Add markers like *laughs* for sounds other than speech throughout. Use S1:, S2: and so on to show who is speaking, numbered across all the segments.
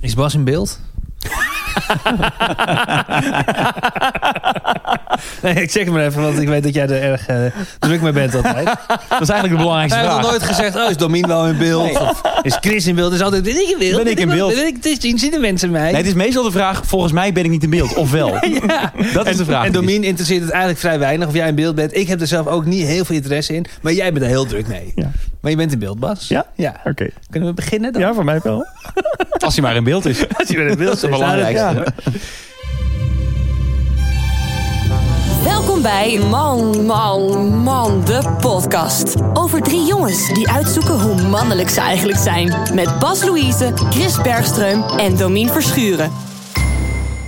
S1: Is Bas in beeld? nee, ik zeg het maar even, want ik weet dat jij er erg eh, druk mee bent altijd.
S2: Dat is eigenlijk de belangrijkste
S1: Hij heeft
S2: vraag.
S1: nog nooit gezegd, oh, is Domien wel in beeld? Of is Chris in beeld? Is altijd, ben ik in beeld?
S2: Ben ik in
S1: wel-
S2: beeld?
S1: Ben ik te zien? Zien de mensen mij?
S2: Nee, het is meestal de vraag, volgens mij ben ik niet in beeld, of wel? Dat is de vraag.
S1: en Domien interesseert het eigenlijk vrij weinig of jij in beeld bent. Ik heb er zelf ook niet heel veel interesse in. Maar jij bent er heel druk mee.
S3: Ja.
S1: Maar je bent in beeld, Bas.
S3: Ja?
S1: ja.
S3: Oké.
S1: Kunnen we beginnen dan?
S3: Ja, voor mij wel.
S2: Als hij maar in beeld is.
S1: *laughs* Als je weer in beeld
S2: het
S1: bent, nou,
S2: belangrijkste.
S4: Welkom bij Man, Man, Man, de podcast. Over drie jongens die uitzoeken hoe mannelijk ze eigenlijk zijn. Met Bas Louise, Chris Bergström en Domien Verschuren.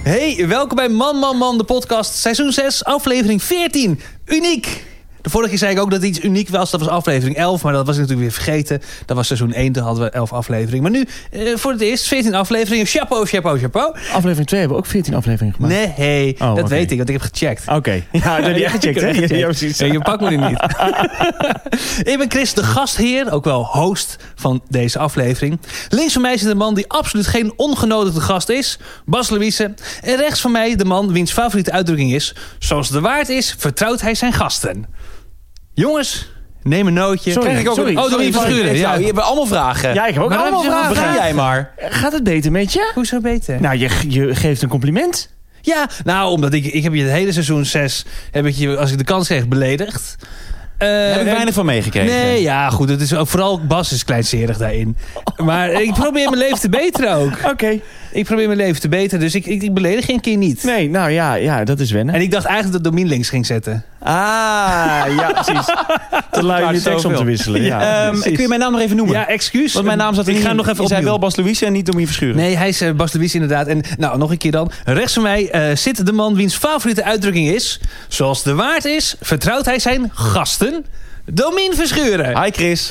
S1: Hey, welkom bij Man, Man, Man, de podcast. Seizoen 6, aflevering 14. Uniek! De vorige keer zei ik ook dat het iets uniek was. Dat was aflevering 11, maar dat was ik natuurlijk weer vergeten. Dat was seizoen 1, toen hadden we 11 afleveringen. Maar nu, eh, voor het eerst, 14 afleveringen. Chapeau, chapeau, chapeau.
S3: Aflevering 2 hebben we ook 14 afleveringen gemaakt.
S1: Nee, hey,
S3: Oh,
S1: dat
S3: oké.
S1: weet ik, want ik heb gecheckt.
S3: Oké. *laughs* Ja, dat heb je gecheckt, hè? Ja, precies.
S1: Hey, je pakt me nu niet. *laughs* ik ben Chris, de gastheer, ook wel host van deze aflevering. Links van mij zit een man die absoluut geen ongenodigde gast is, Bas Louise. En rechts van mij de man wiens favoriete uitdrukking is... zoals de waard is, vertrouwt hij zijn gasten. Jongens, neem een nootje.
S3: Sorry,
S1: Krijg ik ook
S3: sorry.
S1: een... Oh, Domien
S2: Sorry,
S1: Verschuren.
S2: Ja,
S1: Ja.
S2: je hebt allemaal vragen.
S3: Ja, ik heb ook
S1: Maar dan
S3: allemaal
S1: heb je
S3: vragen.
S1: zo'n
S2: Begin jij maar.
S3: Gaat het beter met je?
S1: Hoezo beter?
S3: Nou, je, je geeft een compliment.
S1: Ja, nou, omdat ik, ik heb je het hele seizoen 6... heb ik je, als ik de kans kreeg, beledigd. Eh,
S2: Daar heb ik
S1: en-
S2: weinig van meegekregen.
S1: Nee, ja, goed. Het is ook, vooral Bas is kleinserig daarin. Maar ik probeer mijn leven te beteren ook.
S3: Oké.
S1: Ik probeer mijn leven te beteren, dus ik, ik, ik beledig geen keer niet.
S3: Nee, nou ja, ja, dat is wennen.
S1: En ik dacht eigenlijk dat Domien links ging zetten.
S2: Ah, ja,
S3: *laughs*
S2: precies.
S3: te lui om je tekst om te wisselen. Ja,
S2: Ehm, kun je mijn naam nog even noemen?
S1: Ja, excuus.
S2: Want mijn naam zat er
S1: Ik
S2: niet
S1: ga
S2: in.
S1: nog even
S2: Je zei
S1: opnieuw.
S2: wel Bas Louise en niet Domien Verschuren.
S1: Nee, hij is eh, Bas de Wies inderdaad. En nou, nog een keer dan. Rechts van mij eh, zit de man wiens favoriete uitdrukking is... Zoals de waard is, vertrouwt hij zijn gasten... Domien Verschuren.
S2: Hi Chris.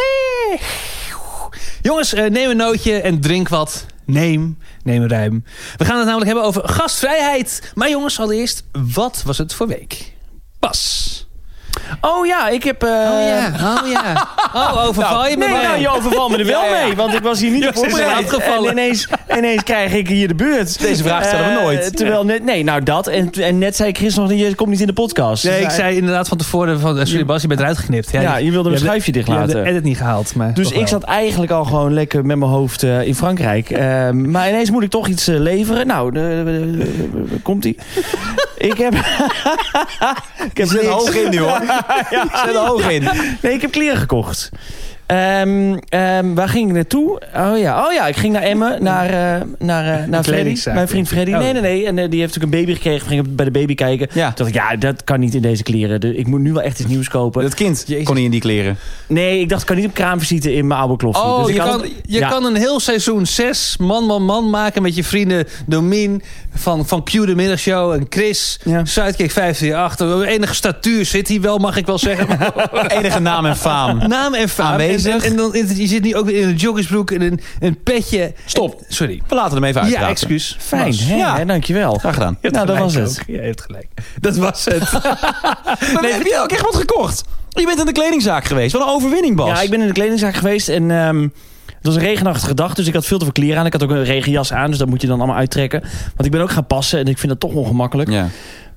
S1: Jongens, eh, neem een nootje en drink wat. Neem, neem een ruim. We gaan het namelijk hebben over gastvrijheid. Maar jongens, allereerst, wat was het voor week? Pas.
S3: Oh ja, ik heb... eh,
S1: oh ja. *laughs* Oh, overval je me?
S3: Nee,
S1: maar?
S3: nou, je overvalt me er wel
S1: Ja, ja.
S3: mee, want ik was hier niet op
S1: Joost is
S3: voorbereid.
S1: uitgevallen.
S3: En ineens, ineens krijg ik hier de beurt.
S2: Deze vraag stellen we
S3: Eh,
S2: nooit.
S3: Terwijl net, nee, nou dat. En, en net zei Chris nog, je komt niet in de podcast. Dus
S1: Nee, ik zei inderdaad van tevoren van, eh, sorry Bas, je bent eruit geknipt.
S3: Ja, je wilde een schuifje dicht
S1: Je hebt
S3: laten.
S1: de edit niet gehaald, maar
S3: Dus
S1: toch wel.
S3: ik zat eigenlijk al gewoon lekker met mijn hoofd eh, in Frankrijk. Eh, maar ineens moet ik toch iets eh, leveren. Nou, de- de- de- de-
S1: *laughs*
S3: komt ie. ik heb... *laughs* ik heb
S2: Zet
S3: niks. *laughs*
S2: hoog in nu hoor.
S1: *laughs*
S2: Zet hoog in.
S3: Nee, ik heb kleren gekocht. Ehm, ehm, waar ging ik naartoe? Oh ja, oh ja ik ging naar Emmen, naar, eh, naar, eh, naar Freddy.
S1: kledingszaak.
S3: Mijn vriend Freddy.
S1: Oh.
S3: Nee, nee, nee. En eh, die heeft natuurlijk een baby gekregen. Ging ik bij de baby kijken.
S2: Ja.
S3: Toen dacht ik, ja, dat kan niet in deze kleren. Dus ik moet nu wel echt iets nieuws kopen.
S2: Dat kind
S1: Jezus.
S2: kon niet in die
S1: *laughs*
S2: kleren.
S3: Nee, ik dacht, ik kan niet op kraamvisite in mijn oude kloffie.
S1: Oh,
S3: dus ik
S1: je,
S3: had-
S1: kan, je
S3: ja.
S1: kan een heel seizoen zes man, man, man maken met je vrienden Domien van, van Q de Middagshow en Chris.
S3: Ja.
S1: Sidekick 538. Enige statuur zit hier wel, mag ik wel zeggen.
S2: Enige naam en faam.
S1: Naam en faam.
S2: Aanwezig.
S1: En, en dan, is het- je zit nu ook weer in een joggersbroek en een, een petje.
S2: Stop.
S1: En- sorry.
S2: We laten hem even uitpraten.
S1: Ja, excuus.
S3: Fijn,
S1: Bas.
S3: hè?
S2: Ja.
S3: hè, Dankjewel.
S2: Graag gedaan.
S1: Je hebt
S3: Nou, dat
S1: gelijk
S3: was
S1: ook.
S3: het.
S1: Ja, je hebt gelijk. Dat was het.
S2: *laughs* Maar heb je ook echt wat gekocht? Je bent in de kledingzaak geweest. Wat een overwinning, Bas.
S3: Ja, ik ben in de kledingzaak geweest en ehm, het was een regenachtige dag, dus ik had veel te veel kleren aan. Ik had ook een regenjas aan, dus dat moet je dan allemaal uittrekken. Want ik ben ook gaan passen en ik vind dat toch ongemakkelijk.
S2: Ja.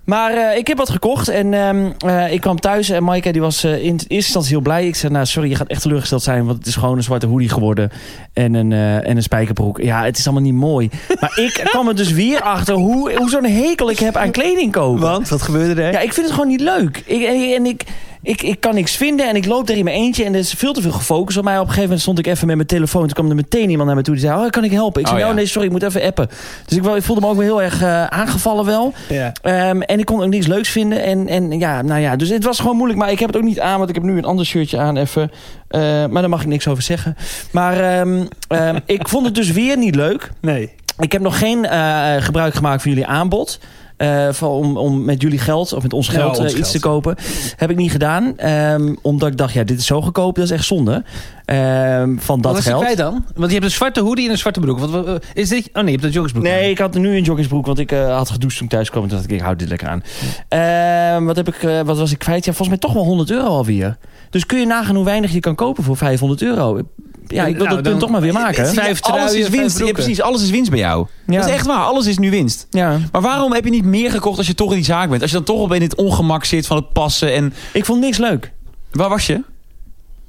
S3: Maar eh, ik heb wat gekocht en ehm, eh, ik kwam thuis en Maaike die was eh, in eerste instantie heel blij. Ik zei, nou sorry, je gaat echt teleurgesteld zijn, want het is gewoon een zwarte hoodie geworden en een, eh, en een spijkerbroek. Ja, het is allemaal niet mooi. *laughs* Maar ik kwam er dus weer achter hoe, hoe zo'n hekel ik heb aan kleding kopen.
S1: Want, wat gebeurde er?
S3: Ja, ik vind het gewoon niet leuk. Ik, en en ik, ik, ik kan niks vinden en ik loop daar in mijn eentje en er is veel te veel gefocust op mij. Op een gegeven moment stond ik even met mijn telefoon. Toen kwam er meteen iemand naar me toe die zei, oh, kan ik helpen? Ik zei,
S2: Oh,
S3: oh
S2: ja.
S3: nee, sorry, ik moet even appen. Dus ik, wel- ik voelde me ook wel heel erg eh, aangevallen wel.
S1: Ja.
S3: Ehm, en ik kon ook niks leuks vinden. En, en ja, nou ja, dus het was gewoon moeilijk. Maar ik heb het ook niet aan, want ik heb nu een ander shirtje aan even. Eh, maar daar mag ik niks over zeggen. Maar ehm,
S1: *laughs*
S3: ehm, ik vond het dus weer niet leuk.
S1: Nee.
S3: Ik heb nog geen eh, gebruik gemaakt van jullie aanbod. Eh, van om, om met jullie geld of met ons
S1: Ja,
S3: geld
S1: ons
S3: eh, iets
S1: geld.
S3: te kopen. Heb ik niet gedaan. ehm, omdat ik dacht, ja, dit is zo goedkoop. Dat is echt zonde. ehm, van dat
S1: wat is
S3: geld.
S1: jij dan? Want je hebt een zwarte hoodie en een zwarte broek. Wat- Wat, wat- is dit? Oh nee, je hebt een joggersbroek.
S3: Nee, ik had nu een joggingsbroek, want ik eh, had gedoucht toen ik thuis kwam. Toen dacht ik, ik hou dit lekker aan. Ehm, wat, heb ik, eh, wat was ik kwijt? Ja, volgens mij toch wel 100 euro alweer. Dus kun je nagaan hoe weinig je kan kopen voor 500 euro. ja, ik wil
S1: Nou,
S3: dat
S1: dan-
S3: punt toch maar weer maken. hè?
S1: Vijf
S2: alles
S1: truien,
S2: is
S1: vijf
S2: winst. Ja,
S1: broeken.
S2: precies, alles is winst bij jou.
S3: Ja.
S2: Dat is echt waar, alles is nu winst.
S3: Ja.
S2: Maar waarom heb je niet meer gekocht als je toch in die zaak bent? Als je dan toch op in dit ongemak zit van het passen en...
S3: Ik vond niks leuk.
S2: Waar was je?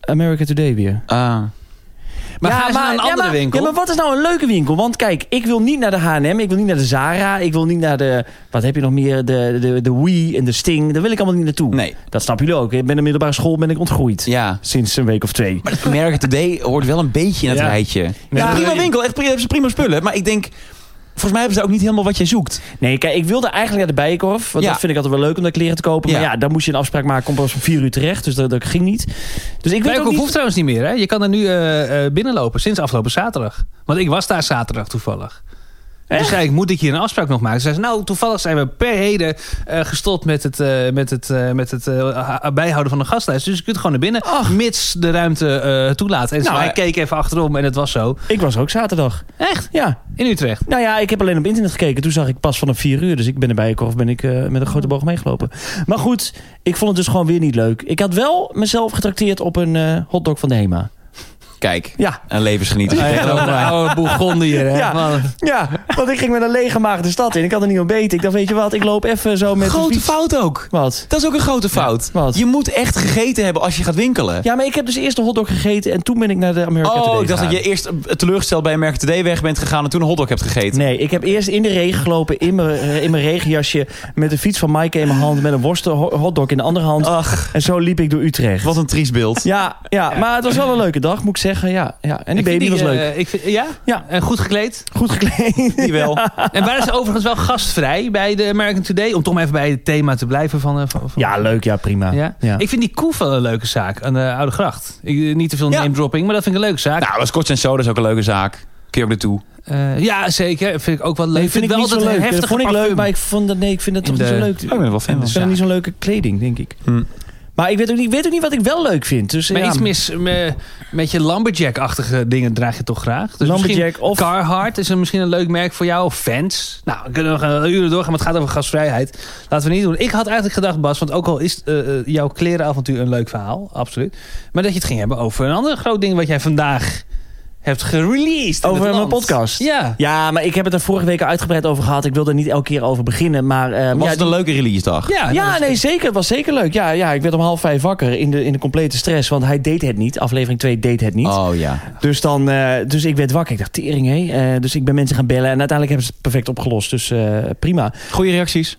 S3: America Today weer.
S2: Ah. Maar ga eens naar een andere
S3: ja, maar,
S2: winkel.
S3: Ja, maar wat is nou een leuke winkel? Want kijk, ik wil niet naar de H&M, ik wil niet naar de Zara, ik wil niet naar de... Wat heb je nog meer? De, de, de Wii en de Sting. Daar wil ik allemaal niet naartoe.
S2: Nee.
S3: Dat snappen jullie ook. Ik ben in de middelbare school ben ik ontgroeid.
S2: Ja.
S3: Sinds een week of twee.
S2: Maar dat America Today hoort wel een beetje in het
S1: Ja.
S2: rijtje.
S1: Ja.
S2: Ja, prima winkel, echt prima, hebben ze prima spullen. Maar ik denk, volgens mij hebben ze ook niet helemaal wat jij zoekt.
S3: Nee, kijk, ik wilde eigenlijk naar de Bijenkorf. Want
S2: Ja.
S3: dat vind ik altijd wel leuk om daar kleren te kopen. Maar
S2: Ja.
S3: ja, dan moest je een afspraak maken. Kom pas om vier uur terecht. Dus dat, dat ging niet. Dus ik weet ook
S1: Bijenkorf
S3: niet...
S1: hoeft trouwens niet meer. Hè? Je kan er nu eh, eh, binnenlopen sinds afgelopen zaterdag. Want ik was daar zaterdag toevallig. En toen zei ik, moet ik hier een afspraak nog maken? Ze zei, nou, toevallig zijn we per heden eh, gestopt met het, eh, met het, eh, met het eh, ha- bijhouden van de gastlijst. Dus je kunt gewoon naar binnen, mits de ruimte eh, toelaat. En
S3: Nou,
S1: hij
S3: eh.
S1: keek even achterom en het was zo.
S3: Ik was er ook zaterdag.
S1: Echt?
S3: Ja.
S1: In Utrecht.
S3: Nou ja, ik heb alleen op internet gekeken. Toen zag ik pas vanaf vier uur. Dus ik ben erbij gekomen. Ben ik eh, met een grote boog meegelopen. Maar goed, ik vond het dus gewoon weer niet leuk. Ik had wel mezelf getrakteerd op een eh, hotdog van de HEMA.
S2: Kijk,
S3: *laughs* Ja.
S2: een levensgenieter.
S1: Ja,
S2: Ja.
S1: een oude Bourgondier, hè?
S3: Ja.
S1: Man.
S3: Ja, want ik ging met een lege maag de stad in. Ik had er niet ontbeten. Ik dacht, weet je wat, ik loop even zo met de
S2: Grote
S3: fiets.
S2: fout ook.
S3: Wat?
S2: Dat is ook een grote fout.
S3: wat?
S2: Je moet echt gegeten hebben als je gaat winkelen.
S3: Ja, maar ik heb dus eerst een hotdog gegeten en toen ben ik naar de Amerika
S2: Oh,
S3: Today
S2: ik dacht dat
S3: gegaan.
S2: je eerst eh, teleurgesteld bij America Today weg bent gegaan en toen een hotdog hebt gegeten.
S3: Nee, ik heb eerst in de regen gelopen, in mijn, eh, in mijn regenjasje... met de fiets van Maaike in mijn hand, met een worsten ho- hotdog in de andere hand.
S2: Ach,
S3: En zo liep ik door Utrecht.
S2: wat een triest
S3: *laughs*
S2: beeld.
S3: Ja, ja, maar het was wel een leuke dag, moet ik zeggen. Ja, ja. En de
S1: Ik vind
S3: baby
S1: die,
S3: was leuk.
S1: eh, ik vind, ja?
S3: Ja.
S1: En goed
S3: *laughs*
S1: gekleed.
S3: Goed gekleed.
S2: Die wel.
S1: En waren ze overigens wel gastvrij bij de American Today? Om toch maar even bij het thema te blijven van... eh, van, van-
S3: Ja, leuk. Ja, prima.
S1: Ja?
S3: Ja.
S1: Ik vind die koe wel een leuke zaak aan de Oude Gracht. Ik, eh, niet te veel
S2: Ja.
S1: name-dropping, maar dat vind ik een leuke zaak.
S2: Nou, dat is Scotch en Soda is ook een leuke zaak. Kun je ook naartoe.
S1: Eh, ja, zeker. Vind ik ook wel leuk.
S3: Nee, vind ik
S1: wel
S3: niet zo
S1: dat
S3: leuk. Dat
S1: heftige
S3: vond ik leuk,
S1: parfum.
S3: maar ik vond dat... Nee, ik vind dat toch
S1: In
S3: niet zo
S1: de-
S3: leuk.
S2: Oh, ik ben er wel fan
S3: Ik
S2: van.
S3: vind dat niet zo'n leuke kleding, denk ik. Hm. Maar ik weet ook niet, ik weet ook niet wat ik wel leuk vind. Dus, eh,
S1: Maar
S3: ja,
S1: iets mis me- met je Lumberjack-achtige dingen draag je toch graag? Dus misschien
S3: Lumberjack of...
S1: Carhartt is een, misschien een leuk merk voor jou. Of Vans. Nou, we kunnen nog eh, uren doorgaan, maar het gaat over gastvrijheid. Laten we niet doen. Ik had eigenlijk gedacht, Bas, want ook al is eh, eh, jouw klerenavontuur een leuk verhaal, absoluut. Maar dat je het ging hebben over een ander groot ding wat jij vandaag hebt gereleased. in
S3: Over
S1: het land.
S3: mijn podcast?
S1: Ja.
S3: Ja, maar ik heb het er vorige week al uitgebreid over gehad. Ik wil er niet elke keer over beginnen, maar... eh,
S2: Was
S3: ja,
S2: het een leuke release dag?
S1: Ja, dat
S3: Ja,
S1: is-
S3: nee, zeker. Het was zeker leuk. Ja, ja, ik werd om half vijf wakker in de, in de complete stress. Want hij deed het niet. Aflevering 2 deed het niet.
S2: Oh ja.
S3: Dus, dan, eh, dus ik werd wakker. Ik dacht, tering hé. Eh, dus ik ben mensen gaan bellen. En uiteindelijk hebben ze het perfect opgelost. Dus eh, prima.
S2: Goede reacties.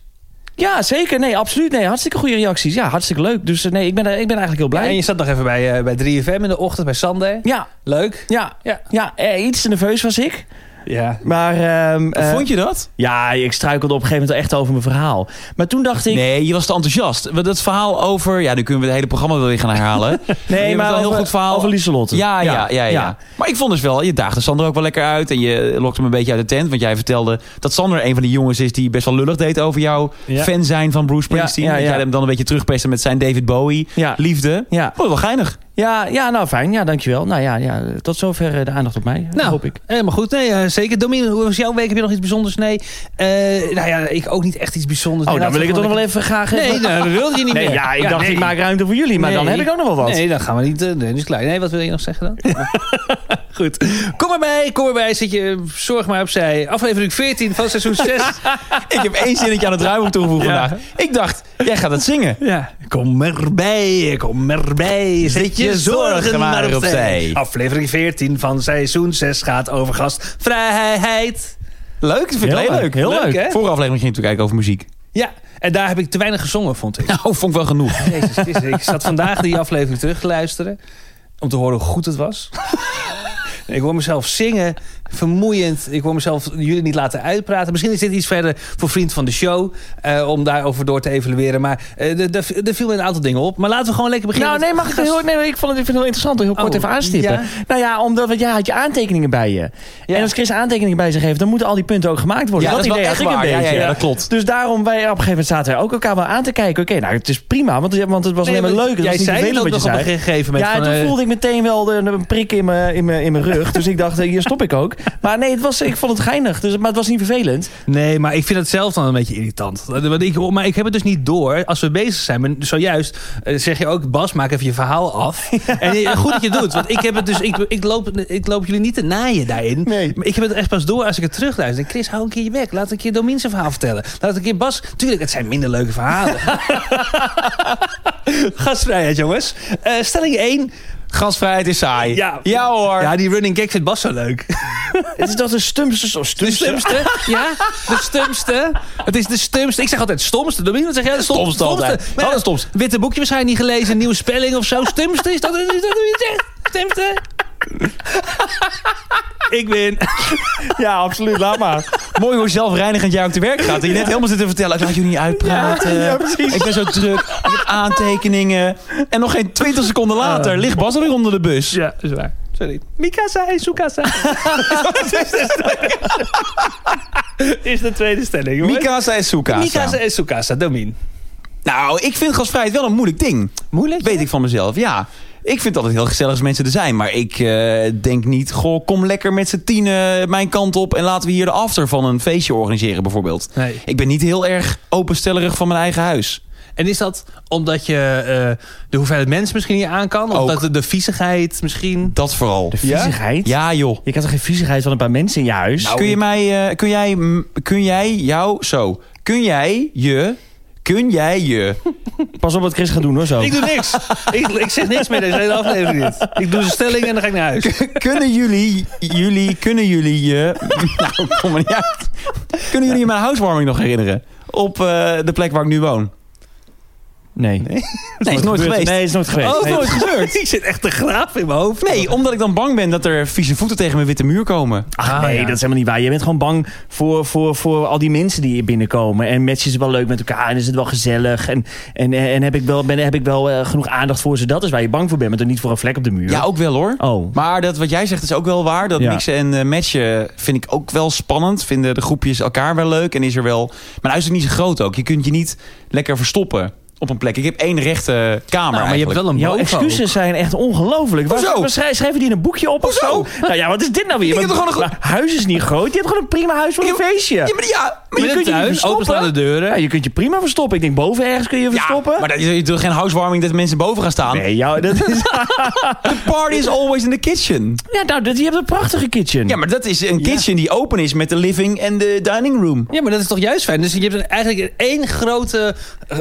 S3: Ja, zeker. Nee, absoluut. Nee, hartstikke goede reacties. Ja, hartstikke leuk. Dus eh, nee, ik ben, er- ik ben eigenlijk heel blij.
S1: En je zat nog even bij, eh, bij 3FM in de ochtend, bij Sander.
S3: Ja,
S1: Leuk.
S3: ja, ja.
S1: Ja.
S3: eh, iets te nerveus was ik.
S1: Ja.
S3: Maar ehm, eh,
S2: Vond je dat?
S3: ja, ik struikelde op een gegeven moment echt over mijn verhaal. Maar toen dacht ik...
S2: Nee, je was te enthousiast. Want Dat verhaal over... Ja, nu kunnen we het hele programma wel weer gaan herhalen.
S3: *laughs* Nee,
S2: Je hebt
S3: maar
S2: wel een heel
S3: over-
S2: goed verhaal.
S3: Over Lieselotte.
S2: Ja, ja, ja, ja, Maar ik vond dus wel, je daagde Sander ook wel lekker uit. En je lokte hem een beetje uit de tent. Want jij vertelde dat Sander een van die jongens is die best wel lullig deed over jouw
S1: Ja.
S2: fan zijn van Bruce Springsteen.
S3: Ja, ja,
S2: Dat
S3: ja.
S2: jij hem dan een beetje terugpesten met zijn David Bowie
S3: Ja.
S2: liefde.
S3: Ja.
S2: Vond het wel geinig.
S3: Ja, ja, nou fijn. Ja, dankjewel. Nou ja, ja tot zover eh, de aandacht op mij.
S1: Nou,
S3: hoop ik.
S1: helemaal goed. Nee, eh, zeker. Domien, hoe was jouw week? Heb je nog iets bijzonders? Nee. Eh, nou ja, ik ook niet echt iets bijzonders.
S3: Oh,
S1: Nee,
S3: dan wil ik het
S1: laten
S3: toch nog
S1: we
S3: wel even graag...
S1: gewoon lekker- Nee, nou, dat wilde je niet
S3: Nee,
S1: meer.
S3: ja, ik dacht,
S1: nee.
S3: ik maak ruimte voor jullie. Maar dan
S1: Nee.
S3: heb ik ook nog wel wat.
S1: Nee, dan gaan we niet. eh, Nee, dat is klaar. Nee, wat wil je nog zeggen dan?
S3: *laughs*
S1: Goed. Kom erbij, kom erbij. Zet je eh, zorg maar opzij. Aflevering 14 van seizoen 6.
S2: Ik heb één zinnetje aan het ruimte toegevoegd vandaag. Ik dacht, jij gaat het zingen.
S1: ja. Kom erbij, kom erbij. Zet je zorgen maar opzij. Aflevering 14 van seizoen 6 gaat over gastvrijheid.
S2: Leuk, dat vind ik
S3: Heel
S2: heel
S3: leuk,
S2: leuk.
S3: heel
S1: leuk.
S2: Vorige aflevering ging natuurlijk eigenlijk over muziek.
S1: Ja, en daar heb ik te weinig gezongen, vond ik.
S2: Nou, vond ik wel genoeg.
S1: *laughs* Jezus, Christus, ik zat vandaag die aflevering terug te luisteren. Om te horen hoe goed het was. *laughs* ik hoor mezelf zingen. Vermoeiend. Ik hoor mezelf jullie niet laten uitpraten. Misschien is dit iets verder voor vriend van de show. eh, om daarover door te evalueren. Maar eh, er- er er viel me een aantal dingen op. Maar laten we gewoon lekker beginnen.
S3: Nou, nee, mag ik er heel... Nee, ik vond het, ik vind het heel interessant. Heel kort
S1: Oh,
S3: even aanstippen.
S1: ja.
S3: Nou ja, omdat want jij had je aantekeningen bij je.
S1: Ja.
S3: En als Chris aantekeningen bij zich heeft... dan moeten al die punten ook gemaakt worden.
S2: Ja, dat is wel
S3: idee
S2: echt
S3: had ik
S2: waar.
S3: een
S2: Ja,
S3: beetje.
S2: ja, ja, dat klopt.
S3: Dus daarom, wij, op een gegeven moment zaten wij ook elkaar wel aan te kijken. Oké, nou, het is prima. Want, want het was
S1: Nee,
S3: alleen maar
S1: want
S3: leuk. Het
S1: Jij
S3: was niet
S1: zei het
S3: vervelend
S1: ook
S3: wat je
S1: nog op
S3: zei.
S1: een gegeven moment.
S3: Ja,
S1: van,
S3: toen
S1: eh,
S3: voelde ik meteen wel de, een prik in mijn in mijn- in mijn rug. dus ik dacht, eh, hier stop ik ook. Maar nee, het was, ik vond het geinig. Dus, maar het was niet vervelend.
S1: Nee, maar ik vind het zelf dan een beetje irritant. Want ik, maar ik heb het dus niet door. Als we bezig zijn, maar zojuist eh, zeg je ook... Bas, maak even je verhaal
S3: *laughs*
S1: af. En eh, goed dat je het doet. Want ik, heb het dus, ik, ik, loop, ik loop jullie niet te naaien daarin.
S3: Nee.
S1: Maar ik heb het echt pas door als ik het terugluister. En Chris, hou een keer je bek. Laat een keer Domien zijn verhaal vertellen. Laat een keer Bas... Tuurlijk, het zijn minder leuke verhalen.
S3: *laughs*
S1: Gastvrijheid, jongens. Eh, stelling 1.
S2: Gasvrijheid is saai.
S1: Ja.
S2: hoor.
S1: Ja, die running gag vindt Bas zo leuk.
S3: Het is dat een stumste... zo-
S1: De
S3: stumste-
S1: stumste? Ja, de stumste. Het is de stumste. Ik zeg altijd stomste. Domien, wat zeg jij? De stom-
S2: Stomste altijd.
S1: Maar ja,
S2: Altijd stomste.
S1: Witte boekje waarschijnlijk niet gelezen. Nieuwe spelling of zo. Stumste is dat. Is dat hoe je het zegt? Stumste. *laughs* Ik win.
S3: Ja, absoluut. Laat maar.
S2: Mooi hoe zelfreinigend jij ook te werk gaat. Dat je net helemaal zit te vertellen. Ik laat jullie niet uitpraten. ik ben zo druk. Ik heb aantekeningen. En nog geen 20 seconden later ligt Bas er weer onder de bus.
S1: Ja, is waar. Sorry. Mikasa en *laughs* Sukasa. is de tweede stelling, jongens.
S2: Mikasa en Soekasa.
S1: Mikasa en Sukasa. Domien.
S2: Nou, ik vind gasvrijheid wel een moeilijk ding.
S1: Moeilijk?
S2: Weet ik van mezelf, ja. Ik vind het altijd heel gezellig als mensen er zijn. Maar ik eh, denk niet, goh, kom lekker met z'n tienen mijn kant op... en laten we hier de after van een feestje organiseren bijvoorbeeld.
S1: Nee.
S2: Ik ben niet heel erg openstellerig van mijn eigen huis.
S1: En is dat omdat je eh, de hoeveelheid mensen misschien niet aan kan? Of
S2: Ook.
S1: dat de, de viezigheid misschien...
S2: Dat vooral.
S3: Viezigheid?
S2: Ja, joh.
S3: Je krijgt toch geen viezigheid van een paar mensen in je huis?
S2: kun, je mij, eh, kun, jij, mm, kun jij jou... Zo. Kun jij je... Kun jij je...
S3: Pas op wat Chris gaat doen hoor zo.
S1: Ik doe niks. ik, ik zeg niks meer deze hele aflevering niet. Ik doe de stelling en dan ga ik naar *laughs* huis.
S2: kunnen jullie... Jullie... Kunnen jullie je... *laughs* nou, kom maar niet uit. Kunnen jullie je mijn housewarming nog herinneren? Op eh, de plek waar ik nu woon.
S3: Nee. Nee,
S2: Nee, is nooit geweest.
S3: Nee, is nooit geweest.
S2: Oh,
S3: Nee.
S2: nooit gebeurd.
S1: ik zit echt te graven in mijn hoofd.
S2: Nee, omdat ik dan bang ben dat er vieze voeten tegen mijn witte muur komen.
S3: Ach,
S1: Ah,
S3: nee,
S1: ja.
S3: dat is helemaal niet waar. Je bent gewoon bang voor, voor, voor al die mensen die hier binnenkomen. En matchen ze wel leuk met elkaar en is het wel gezellig. En, en, en heb ik wel, ben, heb ik wel eh, genoeg aandacht voor ze? Dat is waar je bang voor bent, maar dan niet voor een vlek op de muur.
S2: Ja, ook wel hoor.
S3: Oh.
S2: Maar dat wat jij zegt is ook wel waar. Dat
S3: Ja.
S2: mixen en eh, matchen vind ik ook wel spannend. Vinden de groepjes elkaar wel leuk. En is er wel... Mijn huis is niet zo groot ook. Je kunt je niet lekker verstoppen op een plek. Ik heb één rechte kamer
S1: maar je hebt
S2: eigenlijk.
S1: wel een
S3: Jouw
S1: boven
S3: excuses zijn echt ongelooflijk. Waar,
S2: Hoezo?
S3: waar schrij- schrijven die in een boekje op of
S2: Hoezo?
S3: zo? Nou ja, wat is dit nou weer?
S2: Ik heb
S3: Maar-
S2: toch gewoon een
S3: maar Huis is niet groot. Je hebt gewoon een prima huis voor een
S2: Ja, maar-
S3: feestje.
S2: Ja, maar, ja, maar
S1: Met
S2: je
S1: een
S2: kunt je niet
S1: tuin,
S2: verstoppen.
S1: openstaande
S3: Ja,
S1: deuren.
S3: je kunt je prima verstoppen. Ik denk boven ergens kun je je
S2: Ja,
S3: verstoppen.
S2: maar dat, je doet geen housewarming dat mensen boven gaan staan.
S3: Nee, jou, dat
S2: *laughs*
S3: is,
S2: The party is always in the kitchen.
S3: ja, nou, dat, je hebt een prachtige kitchen.
S2: Ja, maar dat is een kitchen die open is met de living en de dining room.
S1: Ja, maar dat is toch juist fijn. Dus je hebt eigenlijk één grote eh,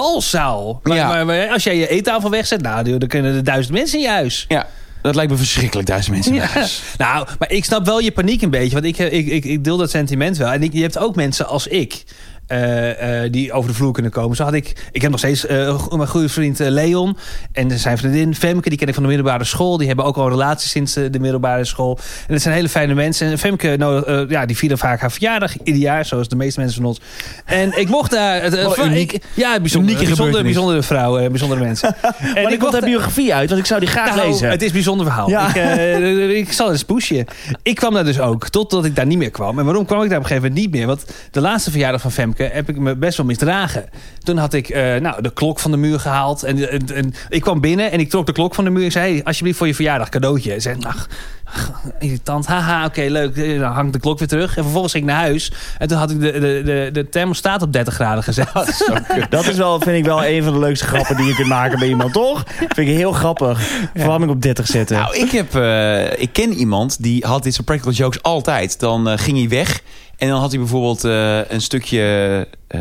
S1: balzaal. Maar,
S2: Ja.
S1: maar, maar als jij je eettafel wegzet, nou, dan kunnen er duizend mensen in je huis.
S2: Ja, dat lijkt me verschrikkelijk duizend mensen in mijn
S1: Ja.
S2: huis.
S1: Nou, maar ik snap wel je paniek een beetje. Want ik, eh, ik, ik, ik deel dat sentiment wel. En ik, je hebt ook mensen als ik. eh, eh, die over de vloer kunnen komen. Zo had ik. Ik heb nog steeds eh, go- mijn goede vriend eh, Leon. En zijn vriendin Femke. Die ken ik van de middelbare school. Die hebben ook al een relatie sinds eh, de middelbare school. En dat zijn hele fijne mensen. En Femke, nou, eh, ja, die vieren vaak haar verjaardag. Ieder jaar, zoals de meeste mensen van ons. En ik mocht daar. het eh,
S2: Wat een
S1: va-
S2: uniek-
S1: ik- ja, bijzonder,
S2: unieke
S1: bijzonder,
S2: gebeurtenis.
S1: bijzondere vrouwen. eh, Bijzondere
S2: *laughs*
S1: mensen. en
S3: maar ik wil
S1: mocht-
S3: haar biografie uit, want ik zou die graag
S1: nou,
S3: lezen.
S1: Het is een bijzonder verhaal.
S3: Ja.
S1: Ik, eh, *laughs* ik zal eens pushen. Ik kwam daar dus ook, totdat ik daar niet meer kwam. En waarom kwam ik daar op een gegeven moment niet meer? Want de laatste verjaardag van Femke heb ik me best wel misdragen. Toen had ik eh, nou, de klok van de muur gehaald. En, en, en ik kwam binnen en ik trok de klok van de muur. Ik zei, hey, alsjeblieft voor je verjaardag cadeautje. Ze zei, ach, ach, irritant. Haha, oké, leuk. Eh, Dan hangt de klok weer terug. En vervolgens ging ik naar huis. En toen had ik de, de, de, de thermostaat op 30 graden
S3: *laughs*
S1: gezet. Oh,
S3: Dat is wel, vind ik wel, een van de leukste grappen die je kunt maken bij iemand, toch? Vind ik heel grappig. Verwarming op 30 zetten.
S2: Nou, ik, heb, eh, ik ken iemand die had dit soort practical jokes altijd. Dan eh, ging hij weg en dan had hij bijvoorbeeld eh, een stukje eh,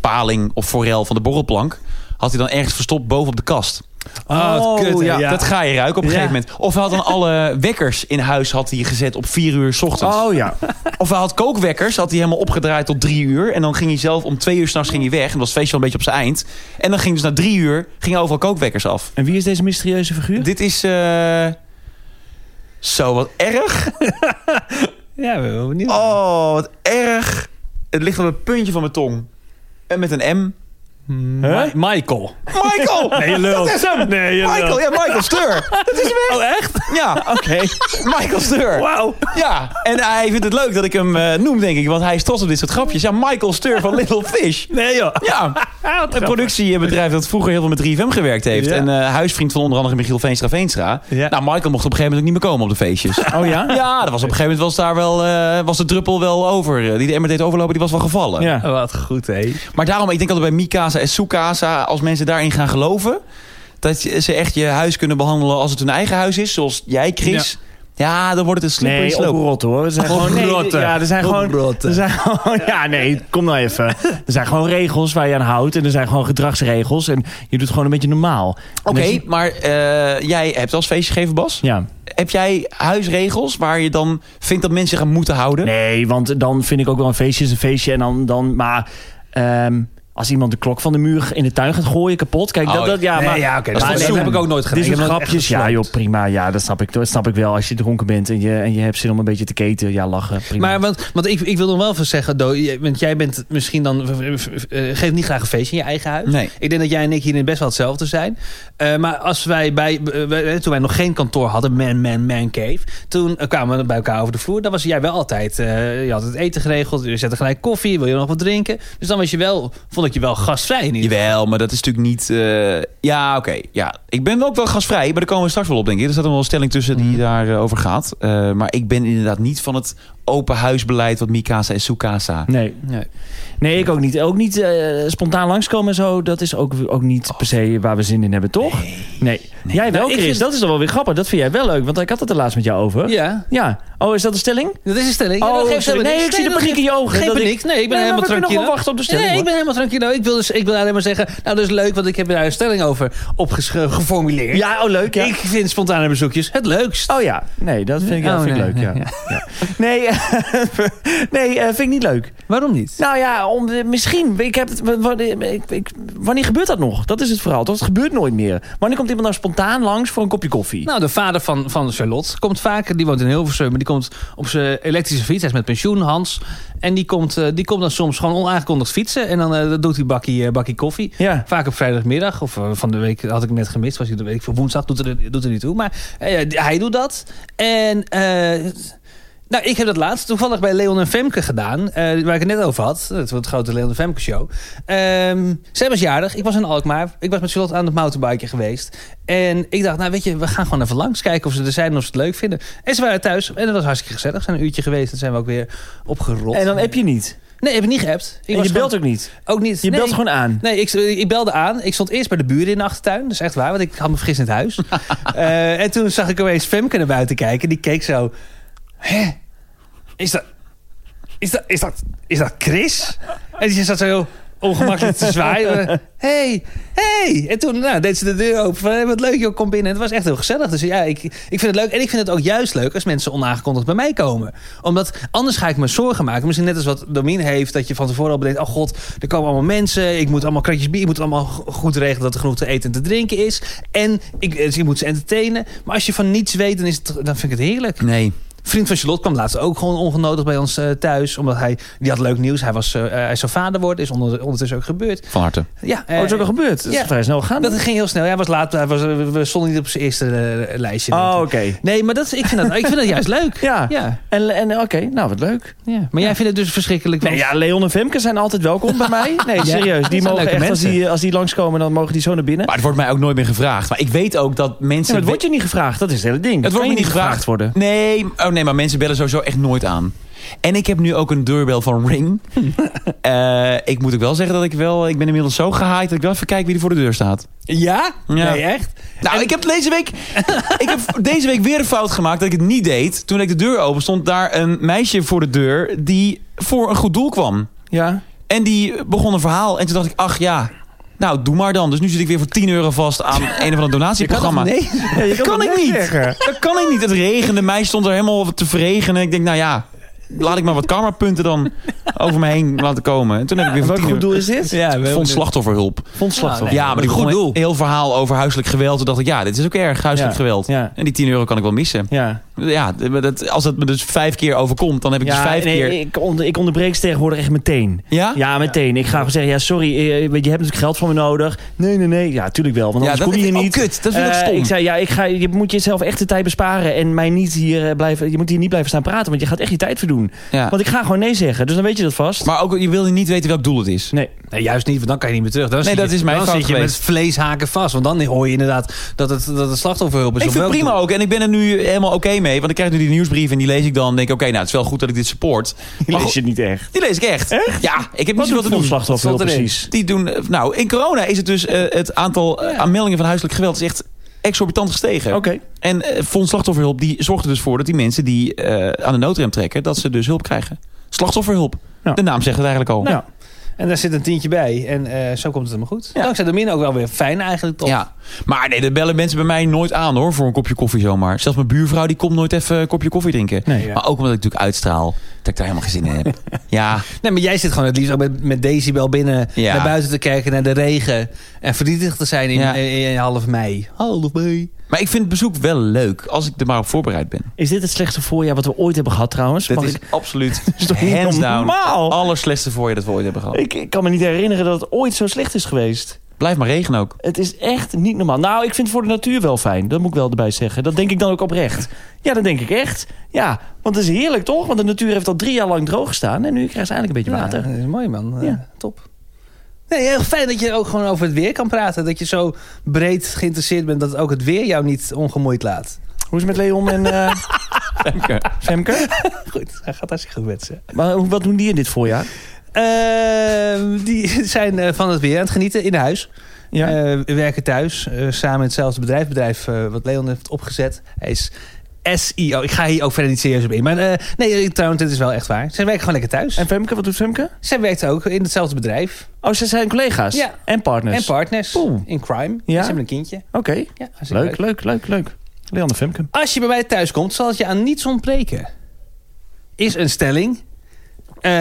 S2: paling of forel van de borrelplank. Had hij dan ergens verstopt bovenop de kast.
S1: Oh, wat kut, hè?
S2: ja.
S1: Ja.
S2: Dat ga je ruiken op een
S1: Ja.
S2: gegeven moment. Of hij had dan alle wekkers in huis had hij gezet op vier uur 's ochtends.
S3: oh ja.
S2: Of hij had kookwekkers, had hij helemaal opgedraaid tot drie uur. En dan ging hij zelf om twee uur s'nachts weg. En dan was het feestje al een beetje op zijn eind. En dan ging dus na drie uur ging overal kookwekkers af.
S3: En wie is deze mysterieuze *laughs* figuur?
S2: Dit is... eh, Zo, wat
S1: *laughs*
S2: erg.
S1: Ja, ik ben wel benieuwd.
S2: Oh, wat erg. Het ligt op het puntje van mijn tong. En met een M.
S1: Ma- Michael.
S2: Michael!
S1: Nee, lul.
S2: Dat is hem!
S1: Nee, je lult.
S2: Michael, ja, Michael, steur.
S1: Oh, echt?
S2: Ja,
S3: Oké.
S2: Michael Steur.
S3: Wauw.
S2: Ja, en hij vindt het leuk dat ik hem eh, noem, denk ik. Want hij is trots op dit soort grapjes. Ja, Michael Steur van Little Fish.
S1: Nee joh.
S2: Ja, een productiebedrijf dat vroeger heel veel met 3FM gewerkt heeft.
S1: Ja.
S2: En eh, huisvriend van onder andere Michiel Veenstra Veenstra.
S1: Ja.
S2: Nou, Michael mocht op een gegeven moment ook niet meer komen op de feestjes.
S3: Oh ja?
S2: Ja, dat was op een gegeven moment was daar wel, eh, was de druppel wel over. Eh, Die de emmer deed overlopen, die was wel gevallen.
S3: Ja.
S1: Wat goed, hé.
S2: Maar daarom, ik denk altijd bij Mikasa en Sukasa, als mensen daarin gaan geloven, dat je- ze echt je huis kunnen behandelen als het hun eigen huis is, zoals jij, Chris. Ja, dan wordt het een slippery
S3: Nee,
S2: slope.
S3: oprot hoor. Er zijn gewoon, nee,
S1: Oprotten.
S3: ja, er zijn gewoon,
S1: Oprotten.
S3: er zijn gewoon... Ja, nee, kom nou even. Er zijn gewoon regels waar je aan houdt. En er zijn gewoon gedragsregels. En je doet gewoon een beetje normaal. En
S2: Oké,
S3: als je-
S2: maar eh, jij hebt als feestje gegeven, Bas.
S3: Ja.
S2: Heb jij huisregels waar je dan vindt dat mensen zich aan moeten houden?
S3: Nee, want dan vind ik ook wel een feestje is een feestje. En dan, dan maar... ehm, als iemand de klok van de muur in de tuin gaat gooien kapot. Kijk,
S2: Oh,
S3: dat, dat, ja,
S1: Nee,
S3: maar,
S1: ja, oké, dat
S3: maar
S1: is
S3: nee,
S1: fatsoen.
S3: maar-
S1: heb ik ook nooit gedaan.
S3: Dit
S1: Ik
S3: soort
S1: heb nooit echt
S3: grapjes, ja
S1: gesloopt.
S3: joh, prima. Ja, dat snap ik, dat snap ik wel. Als je dronken bent en je, en je hebt zin om een beetje te keten. Ja, lachen, prima.
S1: Maar want, want ik, ik wil nog wel even zeggen, Do, je- want jij bent misschien dan. eh, geeft niet graag een feestje in je eigen huis.
S2: Nee.
S1: Ik denk dat jij en ik hierin best wel hetzelfde zijn. Eh, maar als wij bij. eh, wij- toen wij nog geen kantoor hadden, Man, Man, Man Cave. Toen eh, kwamen we bij elkaar over de vloer. Dan was jij wel altijd. eh, je had het eten geregeld. Je zette gelijk koffie. Wil je nog wat drinken? Dus dan was je wel. Vond ik je wel gastvrij in ieder
S2: Jawel, maar dat is natuurlijk niet... eh, Ja, oké. ja. Ik ben ook wel gastvrij, maar daar komen we straks wel op, denk ik. Er staat nog wel een stelling tussen die daarover gaat. Eh, maar ik ben inderdaad niet van het open huisbeleid wat Mikasa en Sukasa...
S3: nee.
S1: Nee.
S3: Nee, ik ook niet. Ook niet eh, spontaan langskomen en zo. Dat is ook, ook niet per se waar we zin in hebben, toch? Nee. Jij wel,
S1: Nou, ik
S3: Chris.
S1: vind-
S3: Dat is dan wel weer grappig. Dat vind jij wel leuk, want ik had het er laatst met jou over.
S1: Ja,
S3: Ja. Oh, is dat een stelling?
S1: dat is een stelling. Ja,
S3: Oh,
S1: dat geeft
S3: sorry.
S1: helemaal niks.
S3: Nee, ik zie de
S1: dat
S3: paniek in je
S1: geeft-
S3: ogen.
S1: Geen
S3: Dat ik-
S1: paniek. Nee, ik ben
S3: Nee, maar
S1: helemaal
S3: we kunnen nog
S1: tranquilo.
S3: wel wachten op de stelling,
S1: Nee, ik
S3: hoor.
S1: ben helemaal tranquilo. Ik wil, dus, ik wil alleen maar zeggen, nou dat is leuk, want ik heb daar een stelling over opgeformuleerd. geformuleerd.
S3: Ja, oh leuk. Ja.
S1: Ik vind spontane bezoekjes het leukst.
S3: Oh ja, nee, dat vind ik, dat
S1: Oh,
S3: vind ik
S1: nee,
S3: leuk.
S1: *laughs*
S3: Ja. Ja. Nee, *laughs* nee eh, vind ik niet leuk.
S1: Waarom niet?
S3: Nou ja, om, eh, misschien. Ik heb het, wa- wa- ik, ik- wanneer gebeurt dat nog? Dat is het verhaal. Dat gebeurt nooit meer. Wanneer komt iemand nou spontaan langs voor een kopje koffie?
S1: Nou, de vader van, van Charlotte komt vaker. Die woont in Hilversum. Maar die komt op zijn elektrische fiets. Hij is met pensioen, Hans. En die komt, eh, die komt dan soms gewoon onaangekondigd fietsen. En dan eh, dat doet hij bakkie, eh, bakkie koffie.
S3: Ja.
S1: Vaak op vrijdagmiddag. Of eh, van de week had ik net gemist. Was hij de week voor woensdag. Doet er, doet er niet toe. Maar eh, ja, hij doet dat. En... eh, nou, ik heb dat laatst toevallig bij Leon en Femke gedaan. eh, waar ik het net over had. Het, het grote Leon en Femke show. Ehm, zij was jarig. Ik was in Alkmaar. Ik was met Charlotte aan het mountainbiken geweest. En ik dacht, nou weet je, we gaan gewoon even langs. Kijken of ze er zijn en of ze het leuk vinden. En ze waren thuis. En dat was hartstikke gezellig. We zijn een uurtje geweest. En zijn we ook weer opgerold.
S3: en dan heb je niet.
S1: Nee, heb ik niet geappt. Ik
S3: En
S1: was
S3: je
S1: gewoon-
S3: belt ook niet.
S1: ook niet.
S3: Je
S1: Nee.
S3: belt gewoon aan.
S1: Nee, ik, ik belde aan. Ik stond eerst bij de buren in de achtertuin. Dat is echt waar, want ik had me vergist in het huis. Eh, en toen zag ik opeens Femke naar buiten kijken. Die keek zo... Hè? Is dat... Is dat, is dat, is dat Chris? En die zat zo heel ongemakkelijk te zwaaien. hey, hey. En toen nou, deed ze de deur open. Van, hey, wat leuk, joh, kom binnen. Het was echt heel gezellig. Dus ja, ik, ik vind het leuk. En ik vind het ook juist leuk als mensen onaangekondigd bij mij komen. Omdat anders ga ik me zorgen maken. Misschien net als wat Domien heeft. Dat je van tevoren al bedenkt. Oh god, er komen allemaal mensen. Ik moet allemaal kratjes bier. Ik moet allemaal go- goed regelen dat er genoeg te eten en te drinken is. En ik, dus ik moet ze entertainen. Maar als je van niets weet, dan, is het, dan vind ik het heerlijk.
S2: Nee.
S1: Vriend van Charlotte kwam laatst ook gewoon ongenodigd bij ons eh, thuis. Omdat hij, die had leuk nieuws. Hij, was, eh, eh, hij zou vader worden. Is onder- ondertussen ook gebeurd.
S2: Van harte.
S1: Ja,
S3: Oh,
S1: eh,
S3: dat is ook al gebeurd. Dat is
S1: ja.
S3: vrij snel gegaan.
S1: dat ging heel snel. Hij was laat. Hij was, eh, we stonden niet op zijn eerste eh, lijstje.
S3: oh, oké.
S1: Nee, maar dat, is- ik, vind dat, ik vind dat juist leuk.
S3: *laughs* Ja.
S1: ja,
S3: En, en oké, nou wat leuk.
S1: ja. Maar jij vindt het dus verschrikkelijk.
S3: Nee,
S1: want-
S3: ja, Leon en Femke zijn altijd welkom bij mij.
S1: *laughs*
S3: Nee, serieus.
S1: dat zijn
S3: Die mogen
S1: leuke
S3: echt, als
S1: mensen.
S3: die, als die langskomen, dan mogen die zo naar binnen.
S2: Maar het wordt mij ook nooit meer gevraagd. Maar ik weet ook dat
S3: Ja,
S2: mensen...
S3: maar het wordt je niet gevraagd. Dat is het hele ding.
S2: Het
S3: Dat
S2: wordt
S3: kan
S2: me
S3: je
S2: niet gevraagd
S3: worden.
S2: Nee, oh nee, maar mensen bellen sowieso echt nooit aan. En ik heb nu ook een deurbel van Ring. Eh, ik moet ook wel zeggen dat ik wel... Ik ben inmiddels zo gehaaid dat ik wel even kijk wie er voor de deur staat.
S1: ja?
S2: Ja.
S1: Nee, echt?
S2: Nou, ik heb deze week, *laughs* ik heb deze week weer een fout gemaakt dat ik het niet deed. Toen ik de deur open stond, daar een meisje voor de deur die voor een goed doel kwam.
S3: Ja.
S2: En die begon een verhaal en toen dacht ik, ach ja, nou doe maar dan. Dus nu zit ik weer voor 10 euro vast aan een of ander
S1: *laughs*
S2: donatieprogramma.
S1: Nee.
S3: Ja, je
S2: Dat
S3: het
S2: kan ik
S3: net
S2: niet.
S3: zeggen.
S2: Dat kan ik niet. Het regende. Mij stond er helemaal te verregenen. Ik denk, nou ja, laat ik maar wat karmapunten dan over me heen laten komen. En toen heb ik weer voor
S3: Wat
S2: 10
S3: goed
S2: euro-
S3: doel is dit?
S1: Ja, we
S2: Vond slachtofferhulp.
S1: slachtoffer.
S2: Ja, maar ik
S1: goed
S2: begon
S1: doel.
S2: een heel verhaal over huiselijk geweld. Toen dacht ik, ja, dit is ook erg, huiselijk
S3: Ja.
S2: geweld.
S3: Ja.
S2: En die 10 euro kan ik wel missen.
S3: Ja.
S2: Ja, maar dat, als het me dus vijf keer overkomt, dan heb ik dus vijf
S3: nee,
S2: keer... Ah,
S3: Ik, onder, ik onderbreek ze tegenwoordig echt meteen.
S2: Ja?
S3: Ja, meteen. Ik ga gewoon zeggen, ja, sorry, eh, weet je je hebt natuurlijk geld van me nodig. Nee, nee, nee. Ja, tuurlijk wel, want
S2: Ja,
S3: anders
S2: dat
S3: kom je
S2: vind
S3: hier
S2: ik- oh,
S3: niet.
S2: kut, dat vind ik
S3: Eh,
S2: stom.
S3: Ik zei, ja, ik ga, je moet jezelf echt de tijd besparen en mij niet hier eh, blijven, je moet hier niet blijven staan praten, want je gaat echt je tijd verdoen.
S2: Ja.
S3: Want ik ga gewoon nee zeggen, dus dan weet je dat vast.
S2: Maar ook, je wil niet weten welk doel het is.
S3: nee.
S1: Nee, juist niet, want dan kan je niet meer terug. Dan zit
S2: dat
S1: je,
S2: is mijn
S1: dan
S2: fout
S1: zit je
S2: geweest.
S1: met vleeshaken vast. Want dan hoor je inderdaad dat het, dat het slachtofferhulp is.
S2: Ik
S1: Of
S2: vind
S1: welk
S2: het prima
S1: doel.
S2: ook. En ik ben er nu helemaal oké mee. Want ik krijg nu die nieuwsbrief en die lees ik dan. En denk ik, oké, nou, het is wel goed dat ik dit support. Maar
S3: Die lees
S2: goed,
S3: je niet echt.
S2: die lees ik echt. Ja, ik heb niet
S3: Wat
S2: zoveel
S3: doet
S2: te
S3: het
S2: doen.
S3: slachtoffer
S1: Wat staat erin?
S3: precies?
S2: Die doen, eh, nou, in corona is het dus eh, het aantal eh, aanmeldingen van huiselijk geweld is echt exorbitant gestegen.
S3: Oké.
S2: En eh Fonds Slachtofferhulp die zorgt er dus voor dat die mensen die eh, aan de noodrem trekken, dat ze dus hulp krijgen. Slachtofferhulp.
S3: Ja.
S2: De naam zegt het eigenlijk al.
S3: Nou,
S1: Ja. En daar zit een tientje bij. En eh, zo komt het helemaal goed. Dankzij de min ook wel weer fijn eigenlijk. Toch?
S2: Ja, maar nee, er bellen mensen bij mij nooit aan hoor, voor een kopje koffie zomaar. Zelfs mijn buurvrouw die komt nooit even een kopje koffie drinken.
S3: Nee.
S2: Maar ook omdat ik natuurlijk uitstraal dat ik daar helemaal geen zin in heb. ja,
S1: Nee, maar jij zit gewoon het liefst ook met, met decibel binnen.
S2: Ja.
S1: Naar buiten te kijken, naar de regen. En verdrietig te zijn in,
S2: Ja.
S1: in, in half mei. Half mei.
S2: maar ik vind het bezoek wel leuk als ik er maar op voorbereid ben.
S3: Is dit het slechtste voorjaar wat we ooit hebben gehad
S2: *laughs*
S3: trouwens?
S2: Dat
S3: Mag
S2: is
S3: ik, *laughs*
S2: absoluut
S3: is toch niet
S2: hands down Oh.
S3: normaal?
S2: allerslechtste voor je dat we ooit hebben gehad.
S3: ik, ik kan me niet herinneren dat het ooit zo slecht is geweest.
S2: Blijf maar regen ook.
S3: Het is echt niet normaal. Nou, ik vind het voor de natuur wel fijn. Dat moet ik wel erbij zeggen. Dat denk ik dan ook oprecht. Ja, dat denk ik echt. Ja, want het is heerlijk toch? Want de natuur heeft al drie jaar lang droog gestaan. En nu krijgt ze eindelijk een beetje
S1: Ja,
S3: water.
S1: dat is mooi man. Eh,
S3: Ja.
S1: top. Nee, heel fijn dat je ook gewoon over het weer kan praten. Dat je zo breed geïnteresseerd bent dat ook het weer jou niet ongemoeid laat.
S3: Hoe is het met Leon en
S1: *laughs*
S3: eh, Femke?
S1: Goed, hij gaat hartstikke goed wensen.
S3: Maar hoe- wat doen die in dit voorjaar?
S1: Ehm, die *laughs* zijn eh, van het weer aan het genieten in huis.
S3: Ja.
S1: Eh, we werken thuis, eh, samen in hetzelfde bedrijf. Bedrijf eh, wat Leon heeft opgezet. Hij is SEO. Ik ga hier ook verder niet serieus op in. Maar eh, nee, eh, trouwens, dit is wel echt waar. Zij werken gewoon lekker thuis.
S3: En Femke, wat doet Femke?
S1: Zij werkt ook in hetzelfde bedrijf.
S3: Oh, ze zijn collega's.
S1: Ja.
S3: En partners.
S1: En partners
S3: Oeh.
S1: in crime.
S3: Ja.
S1: Ze hebben een kindje.
S3: Oké.
S1: Ja, hartstikke
S3: Leuk, leuk, leuk, leuk. Leon en Femke.
S1: Als je bij mij thuis komt, zal het je aan niets ontbreken. Is een stelling. Eh,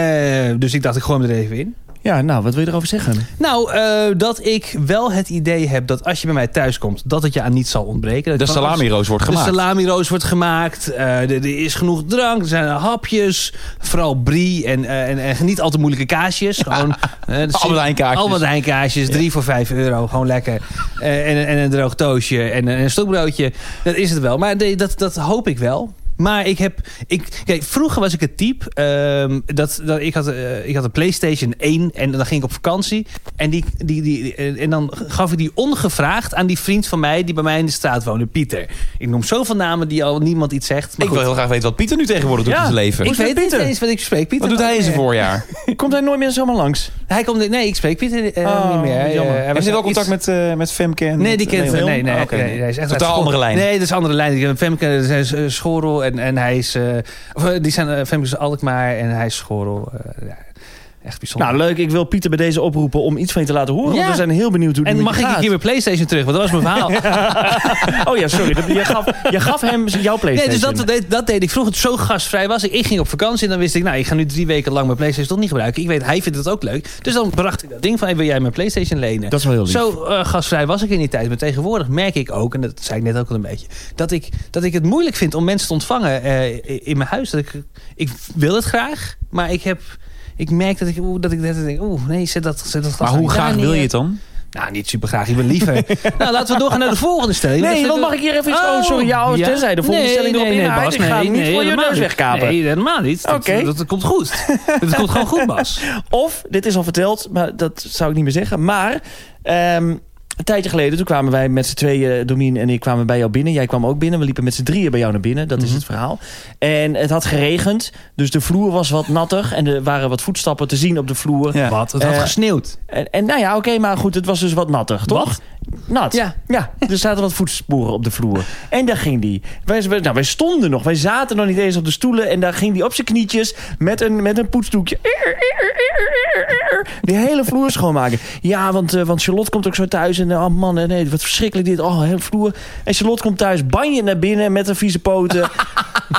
S1: dus ik dacht, ik gooi hem er even in.
S3: Ja, nou, wat wil je erover
S1: *laughs*
S3: zeggen?
S1: Nou, eh, dat ik wel het idee heb dat als je bij mij thuis komt, dat het je aan niets zal ontbreken.
S2: De
S1: Dat van alles-
S2: salami-roos wordt
S1: De
S2: gemaakt.
S1: salami-roos wordt gemaakt. eh, er, er is genoeg drank. Er zijn hapjes. Vooral brie. En, eh, en, en niet al te moeilijke kaasjes. Gewoon, eh,
S2: *laughs*
S1: de
S2: Albert Heijn kaartjes.
S1: Albert Heijn kaasjes. Drie voor vijf euro. Gewoon lekker. Eh, en, en een droog toosje. En, een- en een stokbroodje. Dat is het wel. Maar de- dat, dat hoop ik wel. Maar ik heb... Ik, kijk, vroeger was ik het type... ehm, dat, dat, ik, had, eh, ik had een Playstation 1 en dan ging ik op vakantie. En, die, die, die, eh, en dan gaf ik die ongevraagd aan die vriend van mij... die bij mij in de straat woonde, Pieter. Ik noem zoveel namen die al niemand iets zegt. Maar
S2: Ik wil
S1: goed.
S2: heel graag weten wat Pieter nu tegenwoordig doet
S3: Ja,
S2: in zijn
S1: ik
S2: leven.
S3: Hoe is
S1: weet
S3: met
S1: niet
S3: Pieter?
S1: eens wat ik spreek. Pieter
S2: wat doet hij in zijn
S1: eh,
S2: voorjaar?
S3: Komt hij nooit meer zomaar langs?
S1: Hij komt... Nee, ik spreek Pieter eh,
S3: Oh,
S1: niet meer. Hij, eh,
S3: jammer.
S1: hij was
S2: Heeft hij wel
S1: iets-
S2: contact met, eh, met Femke? En
S1: Nee,
S2: met
S1: die kent
S2: Leon?
S1: Nee, nee,
S2: Ah,
S1: nee,
S2: oké.
S1: nee, hij is echt
S2: Totaal
S1: uit-
S2: andere lijn.
S1: Nee, dat is een andere lijn. Die- Femke dat is eh, schorel en, en hij is... eh, of, eh, die zijn, eh, Femke is Alkmaar en hij is schorel. Eh, ja, echt bijzonder.
S3: Nou, leuk. Ik wil Pieter bij deze oproepen om iets van je te laten horen.
S1: Ja.
S3: Want we zijn heel benieuwd hoe het
S1: en
S3: met
S1: mag
S3: je
S1: ik een
S3: gaat.
S1: keer mijn Playstation terug? Want dat was mijn verhaal.
S3: Oh ja, sorry. Dat, je, *laughs* gaf, je gaf hem jouw
S1: Nee,
S3: Playstation.
S1: dus dat, deed- dat deed ik vroeger. Zo gastvrij was ik. Ik ging op vakantie en dan wist ik... Nou, ik ga nu drie weken lang mijn Playstation toch niet gebruiken. Ik weet, hij vindt het ook leuk. Dus dan bracht ik dat ding van... hey, wil jij mijn Playstation lenen?
S3: Dat is wel heel lief.
S1: Zo eh, gastvrij was ik in die tijd. Maar tegenwoordig merk ik ook, en dat zei ik net ook al een beetje, dat ik, dat ik het moeilijk vind om mensen te ontvangen eh, in mijn huis. Dat ik, ik wil het graag, maar ik heb. Ik merk dat ik, oeh, dat ik net denk, oeh, nee, zet dat, zet dat glas
S2: Maar hoe
S1: niet daar
S2: graag wil
S1: neer.
S2: je het dan?
S1: Nou, niet super graag. Ik ben
S3: *laughs*
S1: liever. nou, laten we doorgaan naar de volgende stelling.
S3: Nee,
S1: Dus
S3: dan
S1: dat-
S3: mag ik hier even iets... Oh, sorry, ja, oh, tenzij de volgende
S1: Nee,
S3: stelling erop
S1: nee, nee,
S3: inhaalt.
S1: Bas,
S3: ik ga
S1: nee,
S3: hem niet
S1: nee,
S3: voor je
S1: helemaal
S3: neus
S1: niet.
S3: wegkapen.
S1: Nee, helemaal niet. Dat,
S3: Oké.
S1: dat, dat komt
S3: *laughs*
S1: goed. dat komt gewoon goed, Bas.
S3: Of, dit is al verteld, maar dat zou ik niet meer zeggen. Maar, ehm, een tijdje geleden, toen kwamen wij met z'n tweeën, eh, Domien en ik, kwamen bij jou binnen. Jij kwam ook binnen. We liepen met z'n drieën bij jou naar binnen. Dat is het verhaal. En het had geregend, dus de vloer was wat nattig. En er waren wat voetstappen te zien op de vloer.
S2: Ja.
S1: Wat? Het had
S3: Eh,
S1: gesneeuwd.
S3: En, en nou ja, oké, maar goed, het was dus wat nattig, toch? Nat.
S1: Ja.
S3: Ja. er zaten wat voetsporen op de vloer. En daar ging die. Wij, wij- nou, wij stonden nog, wij zaten nog niet eens op de stoelen. En daar ging die op zijn knietjes met een, met een poetsdoekje. Die hele vloer schoonmaken. Ja, want, eh, want Charlotte komt ook zo thuis. En eh, oh man, eh, nee, wat verschrikkelijk dit. Oh, hele vloer. En Charlotte komt thuis, banje naar binnen met een vieze *laughs* poten.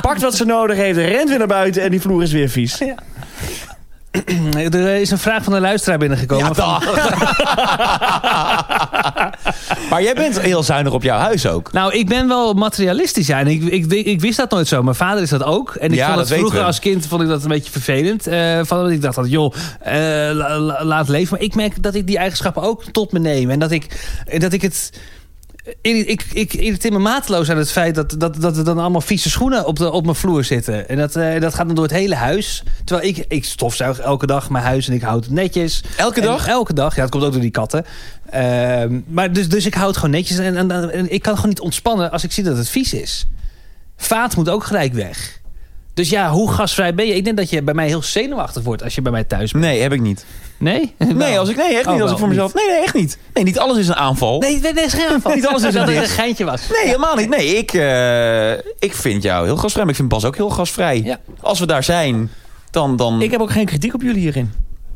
S3: pakt wat ze nodig heeft, rent weer naar buiten. En die vloer is weer vies.
S1: *clears throat* Er is een vraag van een luisteraar binnengekomen.
S2: Ja,
S1: van-
S2: *laughs* maar jij bent heel zuinig op jouw huis ook.
S1: Nou, ik ben wel materialistisch, ja. En ik, ik, ik wist dat nooit zo. Mijn vader is dat ook. En ik
S2: Ja,
S1: vond
S2: dat
S1: dat
S2: weten
S1: vroeger
S2: we.
S1: als kind vond ik dat een beetje vervelend. Eh, van, dat ik dacht, dat, joh, eh, la- la- laat leven. Maar ik merk dat ik die eigenschappen ook tot me neem. En dat ik, dat ik het... Ik, ik, ik irriteer me mateloos aan het feit dat, dat, dat er dan allemaal vieze schoenen op, de, op mijn vloer zitten. En dat, eh, dat gaat dan door het hele huis. Terwijl ik, ik stofzuig elke dag mijn huis en ik houd het netjes.
S2: Elke
S1: En
S2: dag?
S1: Elke dag. Ja, dat komt ook door die katten. Ehm, maar dus, dus ik hou het gewoon netjes. En, en, en ik kan gewoon niet ontspannen als ik zie dat het vies is. Vaat moet ook gelijk weg. Dus ja, hoe gasvrij ben je? Ik denk dat je bij mij heel zenuwachtig wordt als je bij mij thuis bent.
S2: Nee, heb ik *laughs* niet.
S1: Nee? *laughs*
S2: Nee, als ik, nee echt
S1: Oh,
S2: niet.
S1: wel,
S2: Als ik voor mezelf. Nee, nee, echt niet. Nee, niet alles is een aanval.
S1: Nee, nee, nee, scherm van.
S2: *laughs* Niet alles is
S1: *laughs* dat
S2: een
S1: het een
S2: dis.
S1: geintje was.
S2: Nee, helemaal niet. Nee, ik, eh, ik vind jou heel gastvrij. Maar ik vind Bas ook heel gastvrij.
S1: Ja.
S2: Als we daar zijn, dan... dan...
S3: Ik heb ook geen kritiek op jullie hierin.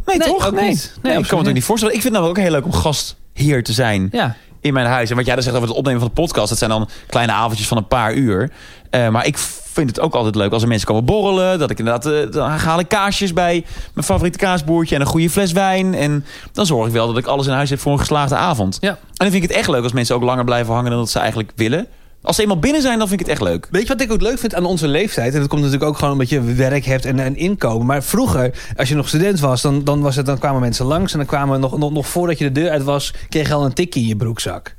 S2: nee,
S1: Nee,
S2: toch?
S1: ook niet.
S2: nee.
S1: Nee,
S2: Nee, ik
S1: absoluut
S2: kan me het ook
S1: niet.
S2: niet voorstellen. Ik vind het nou ook heel leuk om gastheer te zijn
S1: Ja.
S2: in mijn huis. En wat jij dan zegt over het opnemen van de podcast... dat zijn dan kleine avondjes van een paar uur. Eh, maar ik vind het ook altijd leuk als er mensen komen borrelen. Dat ik inderdaad... eh, dan haal ik kaasjes bij mijn favoriete kaasboertje... en een goede fles wijn. En dan zorg ik wel dat ik alles in huis heb voor een geslaagde avond.
S1: ja.
S2: En dan vind ik het echt leuk als mensen ook langer blijven hangen... dan dat ze eigenlijk willen. Als ze eenmaal binnen zijn, dan vind ik het echt leuk.
S1: Weet je wat ik ook leuk vind aan onze leeftijd? En dat komt natuurlijk ook gewoon omdat je werk hebt en een inkomen. Maar vroeger, als je nog student was, dan, dan, was het, dan kwamen mensen langs. En dan kwamen nog, nog, nog voordat je de deur uit was, kreeg je al een tikkie in je broekzak.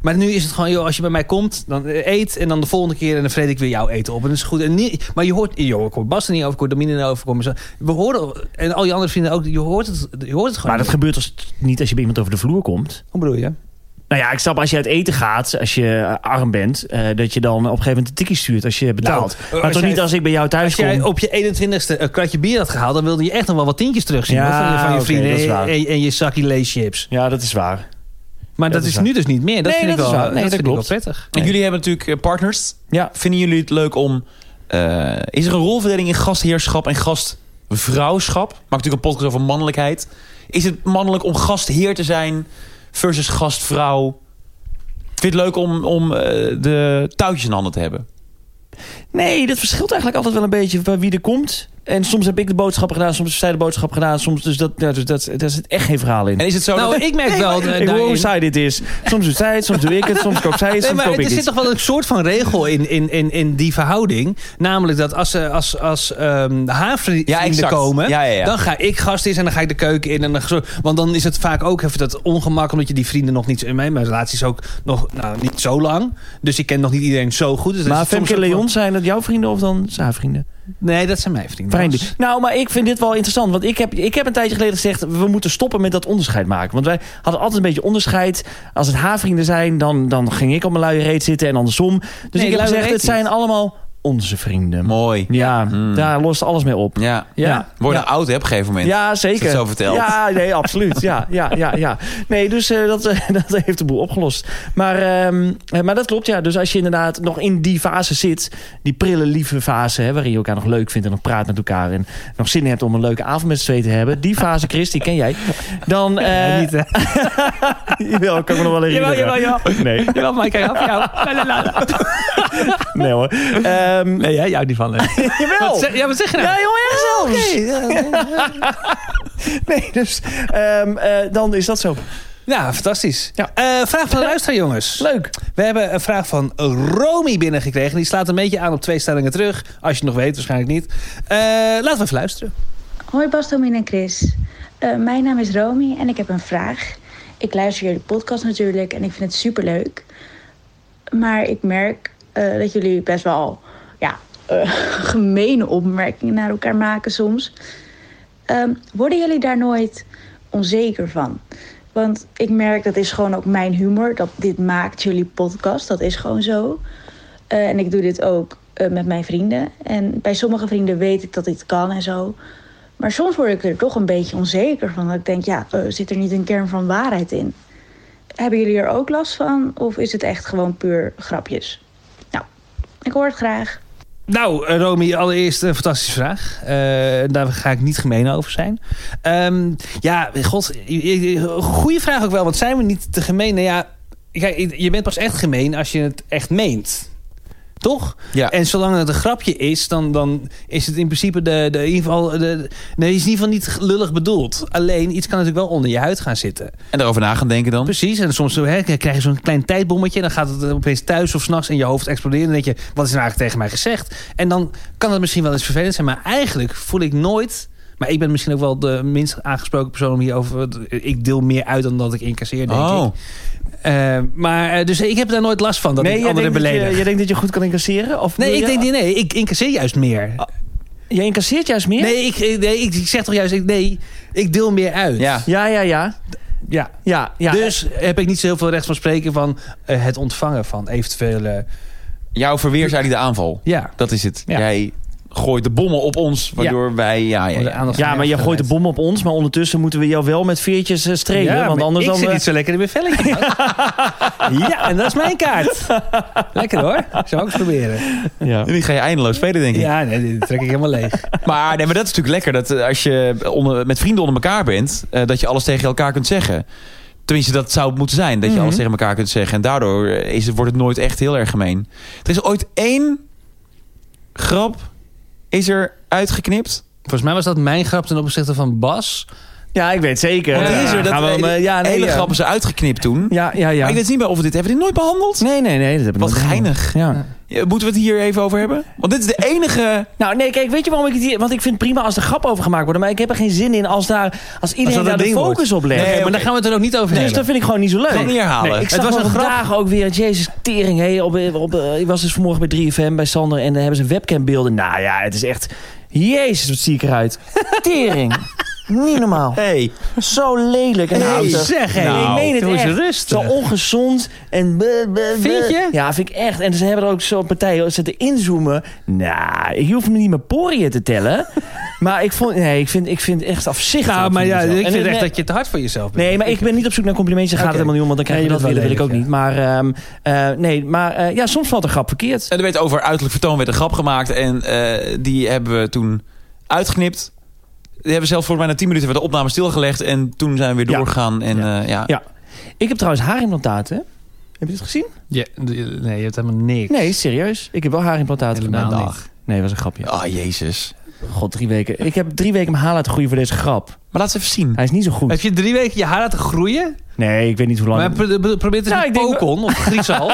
S1: Maar nu is het gewoon, joh, als je bij mij komt, dan eh, eet. En dan de volgende keer, en dan vreet ik weer jouw eten op. En dat is goed. En niet, maar je hoort, joh, ik hoor Bas er niet over, ik hoor Domine er niet over. ik hoor mezelf. We horen, en al je andere vrienden ook, je hoort het, je hoort het gewoon.
S3: Maar dat
S1: niet.
S3: gebeurt als, niet als je bij iemand over de vloer komt.
S1: Hoe bedoel je?
S3: Nou ja, ik snap als je uit eten gaat, als je eh, arm bent, eh, dat je dan op een gegeven moment een tikkie stuurt als je betaalt.
S1: eh,
S3: maar
S1: als
S3: toch
S1: jij-
S3: niet als ik bij jou thuis
S1: Als
S3: kom.
S1: jij op je 21ste een kratje bier had gehaald... dan wilde je echt nog wel wat tientjes terugzien
S3: Ja,
S1: hoor, van je, van je
S3: oké,
S1: vrienden
S3: dat is waar.
S1: en, en je zakje Lay's chips.
S3: Ja, dat is waar.
S1: Maar
S3: Ja,
S1: dat,
S3: dat is
S1: is nu dus niet meer. Dat
S3: Nee,
S1: vind
S3: dat
S1: ik
S3: is
S1: wel,
S3: waar.
S1: dat
S3: Nee, dat
S1: vind ik wel
S3: klopt.
S1: prettig.
S2: En jullie hebben natuurlijk eh, partners.
S3: Ja.
S2: Vinden jullie het leuk om... eh, is er een rolverdeling in gastheerschap en gastvrouwschap? Maak natuurlijk een podcast over mannelijkheid. Is het mannelijk om gastheer te zijn versus gastvrouw? Vind je het leuk om, om eh, de touwtjes in handen te hebben?
S3: Nee, dat verschilt eigenlijk altijd wel een beetje bij wie er komt. En soms heb ik de boodschap gedaan, soms heeft zij de boodschap gedaan. Soms, dus dat, ja, dus dat, daar zit echt geen verhaal in.
S2: En is het zo...
S1: Nou,
S2: dat-
S1: ik merk
S3: Nee,
S1: wel...
S3: maar-
S1: eh,
S3: ik hoor hoe
S1: daarin-
S3: saai dit is. Soms doet zij het, soms doe ik het, soms koopt zij het,
S1: Nee,
S3: soms
S1: maar
S3: koop ik
S1: er zit
S3: dit.
S1: toch wel een soort van regel in, in, in, in die verhouding. Namelijk dat als, ze- als, als ehm, haar vrienden
S2: Ja, exact.
S1: komen...
S2: Ja, ja, ja.
S1: dan ga ik gast is en dan ga ik de keuken in. En dan, zo- want dan is het vaak ook even dat ongemak... omdat je die vrienden nog niet... zo- Mijn, mijn relatie is ook nog nou, niet zo lang. Dus ik ken nog niet iedereen zo goed. Dus dan
S3: Maar
S1: is het soms
S3: Femke en
S1: ook wel-
S3: Leon, zijn dat jouw vrienden of dan zijn haar vrienden?
S1: Nee, dat zijn mijn vrienden.
S3: Vrienden. Nou, maar ik vind dit wel interessant. Want ik heb, ik heb een tijdje geleden gezegd... we moeten stoppen met dat onderscheid maken. Want wij hadden altijd een beetje onderscheid. Als het haar vrienden zijn, dan, dan ging ik op mijn luie reet zitten en andersom. Dus
S1: Nee,
S3: ik heb
S1: luie
S3: gezegd,
S1: reet niet.
S3: het
S1: Mm.
S3: zijn allemaal onze vrienden.
S2: Mooi.
S3: Ja,
S2: Hmm.
S3: daar lost alles mee op.
S2: Ja.
S3: Ja.
S2: Word je
S3: Ja.
S2: oud hè, op een gegeven moment.
S3: Ja, zeker.
S2: Als je het zo vertelt.
S3: Ja, nee, absoluut. Ja, ja, ja, ja. Nee, dus eh, dat, eh, *laughs* dat heeft de boel opgelost. Maar, ehm, eh, maar dat klopt, ja. Dus als je inderdaad nog in die fase zit, die prille lieve fase, hè, waarin je elkaar nog leuk vindt en nog praat met elkaar en nog zin in hebt om een leuke avond met z'n tweeën te hebben, die fase, Chris, die ken jij. Dan, eh
S1: Ja, niet, hè?
S3: *laughs* Jawel, kan ik me nog wel herinneren.
S1: *laughs* Jawel, jawel,
S3: *laughs* Nee,
S1: Jawel, maar ik kijk af
S3: *laughs*
S1: jou.
S3: nee hoor. Ehm,
S1: Nee, jij houdt niet van. hè?
S3: *laughs* jawel!
S1: Wat zeg, ja, wat zeg je nou?
S3: Ja, jongen, echt zelfs. nee, dus ehm, eh, dan is dat zo.
S1: *laughs* Ja, fantastisch.
S3: Ja.
S1: Eh, vraag van de luisteraar, jongens.
S3: Leuk.
S1: We hebben een vraag van Romy binnengekregen. Die slaat een beetje aan op twee stellingen terug. Als je het nog weet, waarschijnlijk niet. Eh, laten we even luisteren.
S5: Hoi Bas, Domin en Chris. Eh, mijn naam is Romy en ik heb een vraag. Ik luister jullie podcast natuurlijk en ik vind het superleuk. Maar ik merk eh, dat jullie best wel ja, eh, *laughs* gemene opmerkingen naar elkaar maken soms. Ehm, worden jullie daar nooit onzeker van? Want ik merk dat is gewoon ook mijn humor. Dat dit maakt jullie podcast. Dat is gewoon zo. Eh, en ik doe dit ook eh, met mijn vrienden. En bij sommige vrienden weet ik dat dit kan en zo. Maar soms word ik er toch een beetje onzeker van. Dat ik denk, ja, eh, zit er niet een kern van waarheid in? Hebben jullie er ook last van? Of is het echt gewoon puur grapjes? Nou, ik hoor het graag.
S1: Nou, eh, Romy, allereerst een fantastische vraag. Eh, daar ga ik niet gemeen over zijn. Ehm, ja, god, goede vraag ook wel. Want zijn we niet te gemeen? Nou ja, kijk, je bent pas echt gemeen als je het echt meent. Toch?
S2: Ja.
S1: En zolang het een grapje is, dan, dan is het in principe de, de, in ieder geval de, de- nee, is in ieder geval niet lullig bedoeld. Alleen, iets kan natuurlijk wel onder je huid gaan zitten.
S2: En daarover na gaan denken dan.
S1: Precies, en soms hè, krijg je zo'n klein tijdbommetje... en dan gaat het opeens thuis of s'nachts in je hoofd exploderen... en dan denk je, wat is er nou eigenlijk tegen mij gezegd? En dan kan het misschien wel eens vervelend zijn... maar eigenlijk voel ik nooit... maar ik ben misschien ook wel de minst aangesproken persoon om hierover... want ik deel meer uit dan dat ik incasseer, denk
S2: Oh.
S1: ik. Eh, maar, eh, dus ik heb daar nooit last van, dat
S3: nee,
S1: ik
S3: jij
S1: anderen
S3: denkt, dat
S1: beledig.
S3: je, jij denkt dat je goed kan incasseren? Of
S1: Nee,
S3: wil
S1: ik
S3: je-
S1: denk niet, nee, ik incasseer juist meer.
S3: Je incasseert juist meer?
S1: Nee, ik, ik- nee ik, ik zeg toch juist, ik, nee, ik deel meer uit.
S2: Ja.
S3: Ja, ja, ja.
S1: ja.
S3: ja, ja.
S1: Dus heb ik niet zo heel veel recht van spreken van eh, het ontvangen van eventuele...
S2: Jouw verweer is eigenlijk de aanval.
S1: Ja.
S2: Dat is het.
S1: Ja.
S2: Jij gooit de bommen op ons, waardoor wij... Ja, ja,
S1: Om de
S2: ja.
S1: aandacht
S3: ja,
S1: van
S3: maar je gooit de
S1: afgeleid.
S3: bom op ons, maar ondertussen moeten we jou wel met veertjes eh, strelen.
S1: Ja,
S3: want
S1: maar
S3: anders
S1: ik
S3: dan.
S1: zit
S3: eh,
S1: niet zo lekker in mijn velletje. man. *laughs* ja, en dat is mijn kaart. *laughs* Lekker hoor. Zou ik eens proberen.
S3: ja.
S2: Nu ga je eindeloos spelen, denk ik.
S1: Ja, nee, die trek ik helemaal leeg.
S2: Maar, nee, maar dat is natuurlijk lekker. Dat eh, als je onder, met vrienden onder elkaar bent, eh, dat je alles tegen elkaar kunt zeggen. Tenminste, dat zou het moeten zijn. Dat je alles tegen elkaar kunt zeggen. En daardoor eh, is, het- wordt het nooit echt heel erg gemeen. Er is ooit één grap is er uitgeknipt.
S1: Volgens mij was dat mijn grap ten opzichte van Bas.
S3: ja, ik weet zeker.
S2: Want er is er dat
S3: Gaan we hem, eh, ja, nee,
S2: hele
S3: ja.
S2: grap is er uitgeknipt toen.
S3: Ja, ja, ja.
S2: Maar ik weet niet meer of we dit hebben. we dit nooit behandeld.
S3: Nee, nee, nee. Dat heb ik
S2: Wat
S3: nog niet
S2: geinig.
S3: gedaan. Ja.
S2: Ja, Moeten we het hier even over hebben? Want dit is de enige...
S3: Nou, nee, kijk, weet je waarom ik het hier... Want ik vind het prima als er grap over gemaakt wordt. Maar ik heb er geen zin in als, daar, als iedereen
S1: dat
S3: daar
S1: een
S3: de
S1: ding wordt.
S3: focus op
S1: Nee,
S3: legt.
S1: maar daar gaan we het er ook niet over
S3: dus
S1: hebben.
S3: dat vind ik gewoon niet zo leuk.
S2: Gewoon niet herhalen.
S3: ik
S2: Het
S3: zag
S1: was
S3: wel
S1: een grap.
S3: vandaag ook weer... Jezus, tering, hé. op, op, eh, ik was dus vanmorgen bij 3FM bij Sander... en daar hebben ze webcambeelden. Nou ja, het is echt... Jezus, wat zie
S1: *laughs*
S3: ik eruit. Tering. niet normaal.
S2: Hey.
S3: Zo lelijk en
S1: Nou,
S3: ouder.
S1: zeg hé.
S2: Nou,
S3: ik meen het
S1: doe eens
S3: echt.
S1: rustig.
S3: Zo ongezond en... bleh, bleh,
S1: Vind
S3: bleh.
S1: je?
S3: Ja, vind ik echt. En ze hebben er ook zo'n partij zitten inzoomen. Nou, ik hoef me niet mijn poriën te tellen. *laughs* maar ik vond... Nee, ik vind, ik vind het echt afzichtelijk.
S1: Ja, Nou, maar
S3: vind
S1: ja,
S3: het wel.
S1: ik
S3: En
S1: vind
S3: nee,
S1: echt dat je te hard voor jezelf bent.
S3: Nee, maar ik ben niet op zoek naar complimentjes. Daar gaat
S1: Oké.
S3: het helemaal niet om, want dan krijg je
S1: Nee,
S3: dat
S1: dat
S3: weer. Dat wil ik ook
S1: wel
S3: niet. Maar ehm, eh, nee, maar eh, ja, soms valt een grap verkeerd.
S2: En er werd over uiterlijk vertoon werd een grap gemaakt. En eh, die hebben we toen uitgeknipt. Die hebben zelfs volgens mij na 10 minuten werd de opname stilgelegd. En toen zijn we weer
S3: Ja.
S2: doorgegaan. En,
S1: Ja.
S2: eh, ja.
S3: Ja. Ik heb trouwens haarimplantaten. Heb je dit gezien?
S1: Ja, d- nee, je hebt helemaal niks.
S3: Nee, serieus. Ik heb wel haarimplantaten
S1: Helemaal
S3: gedaan.
S1: niet.
S3: Nee, was een grapje.
S2: Ah, jezus.
S3: God, drie weken. Ik heb drie weken mijn haar laten groeien voor deze grap.
S2: Maar laat ze even zien.
S3: Hij is niet zo goed.
S1: Heb je drie weken je haar laten groeien?
S3: Nee, ik weet niet hoe lang.
S1: Maar pro- pro- probeer het eens met
S3: Nou, ik denk-
S1: Pokon of Griesal.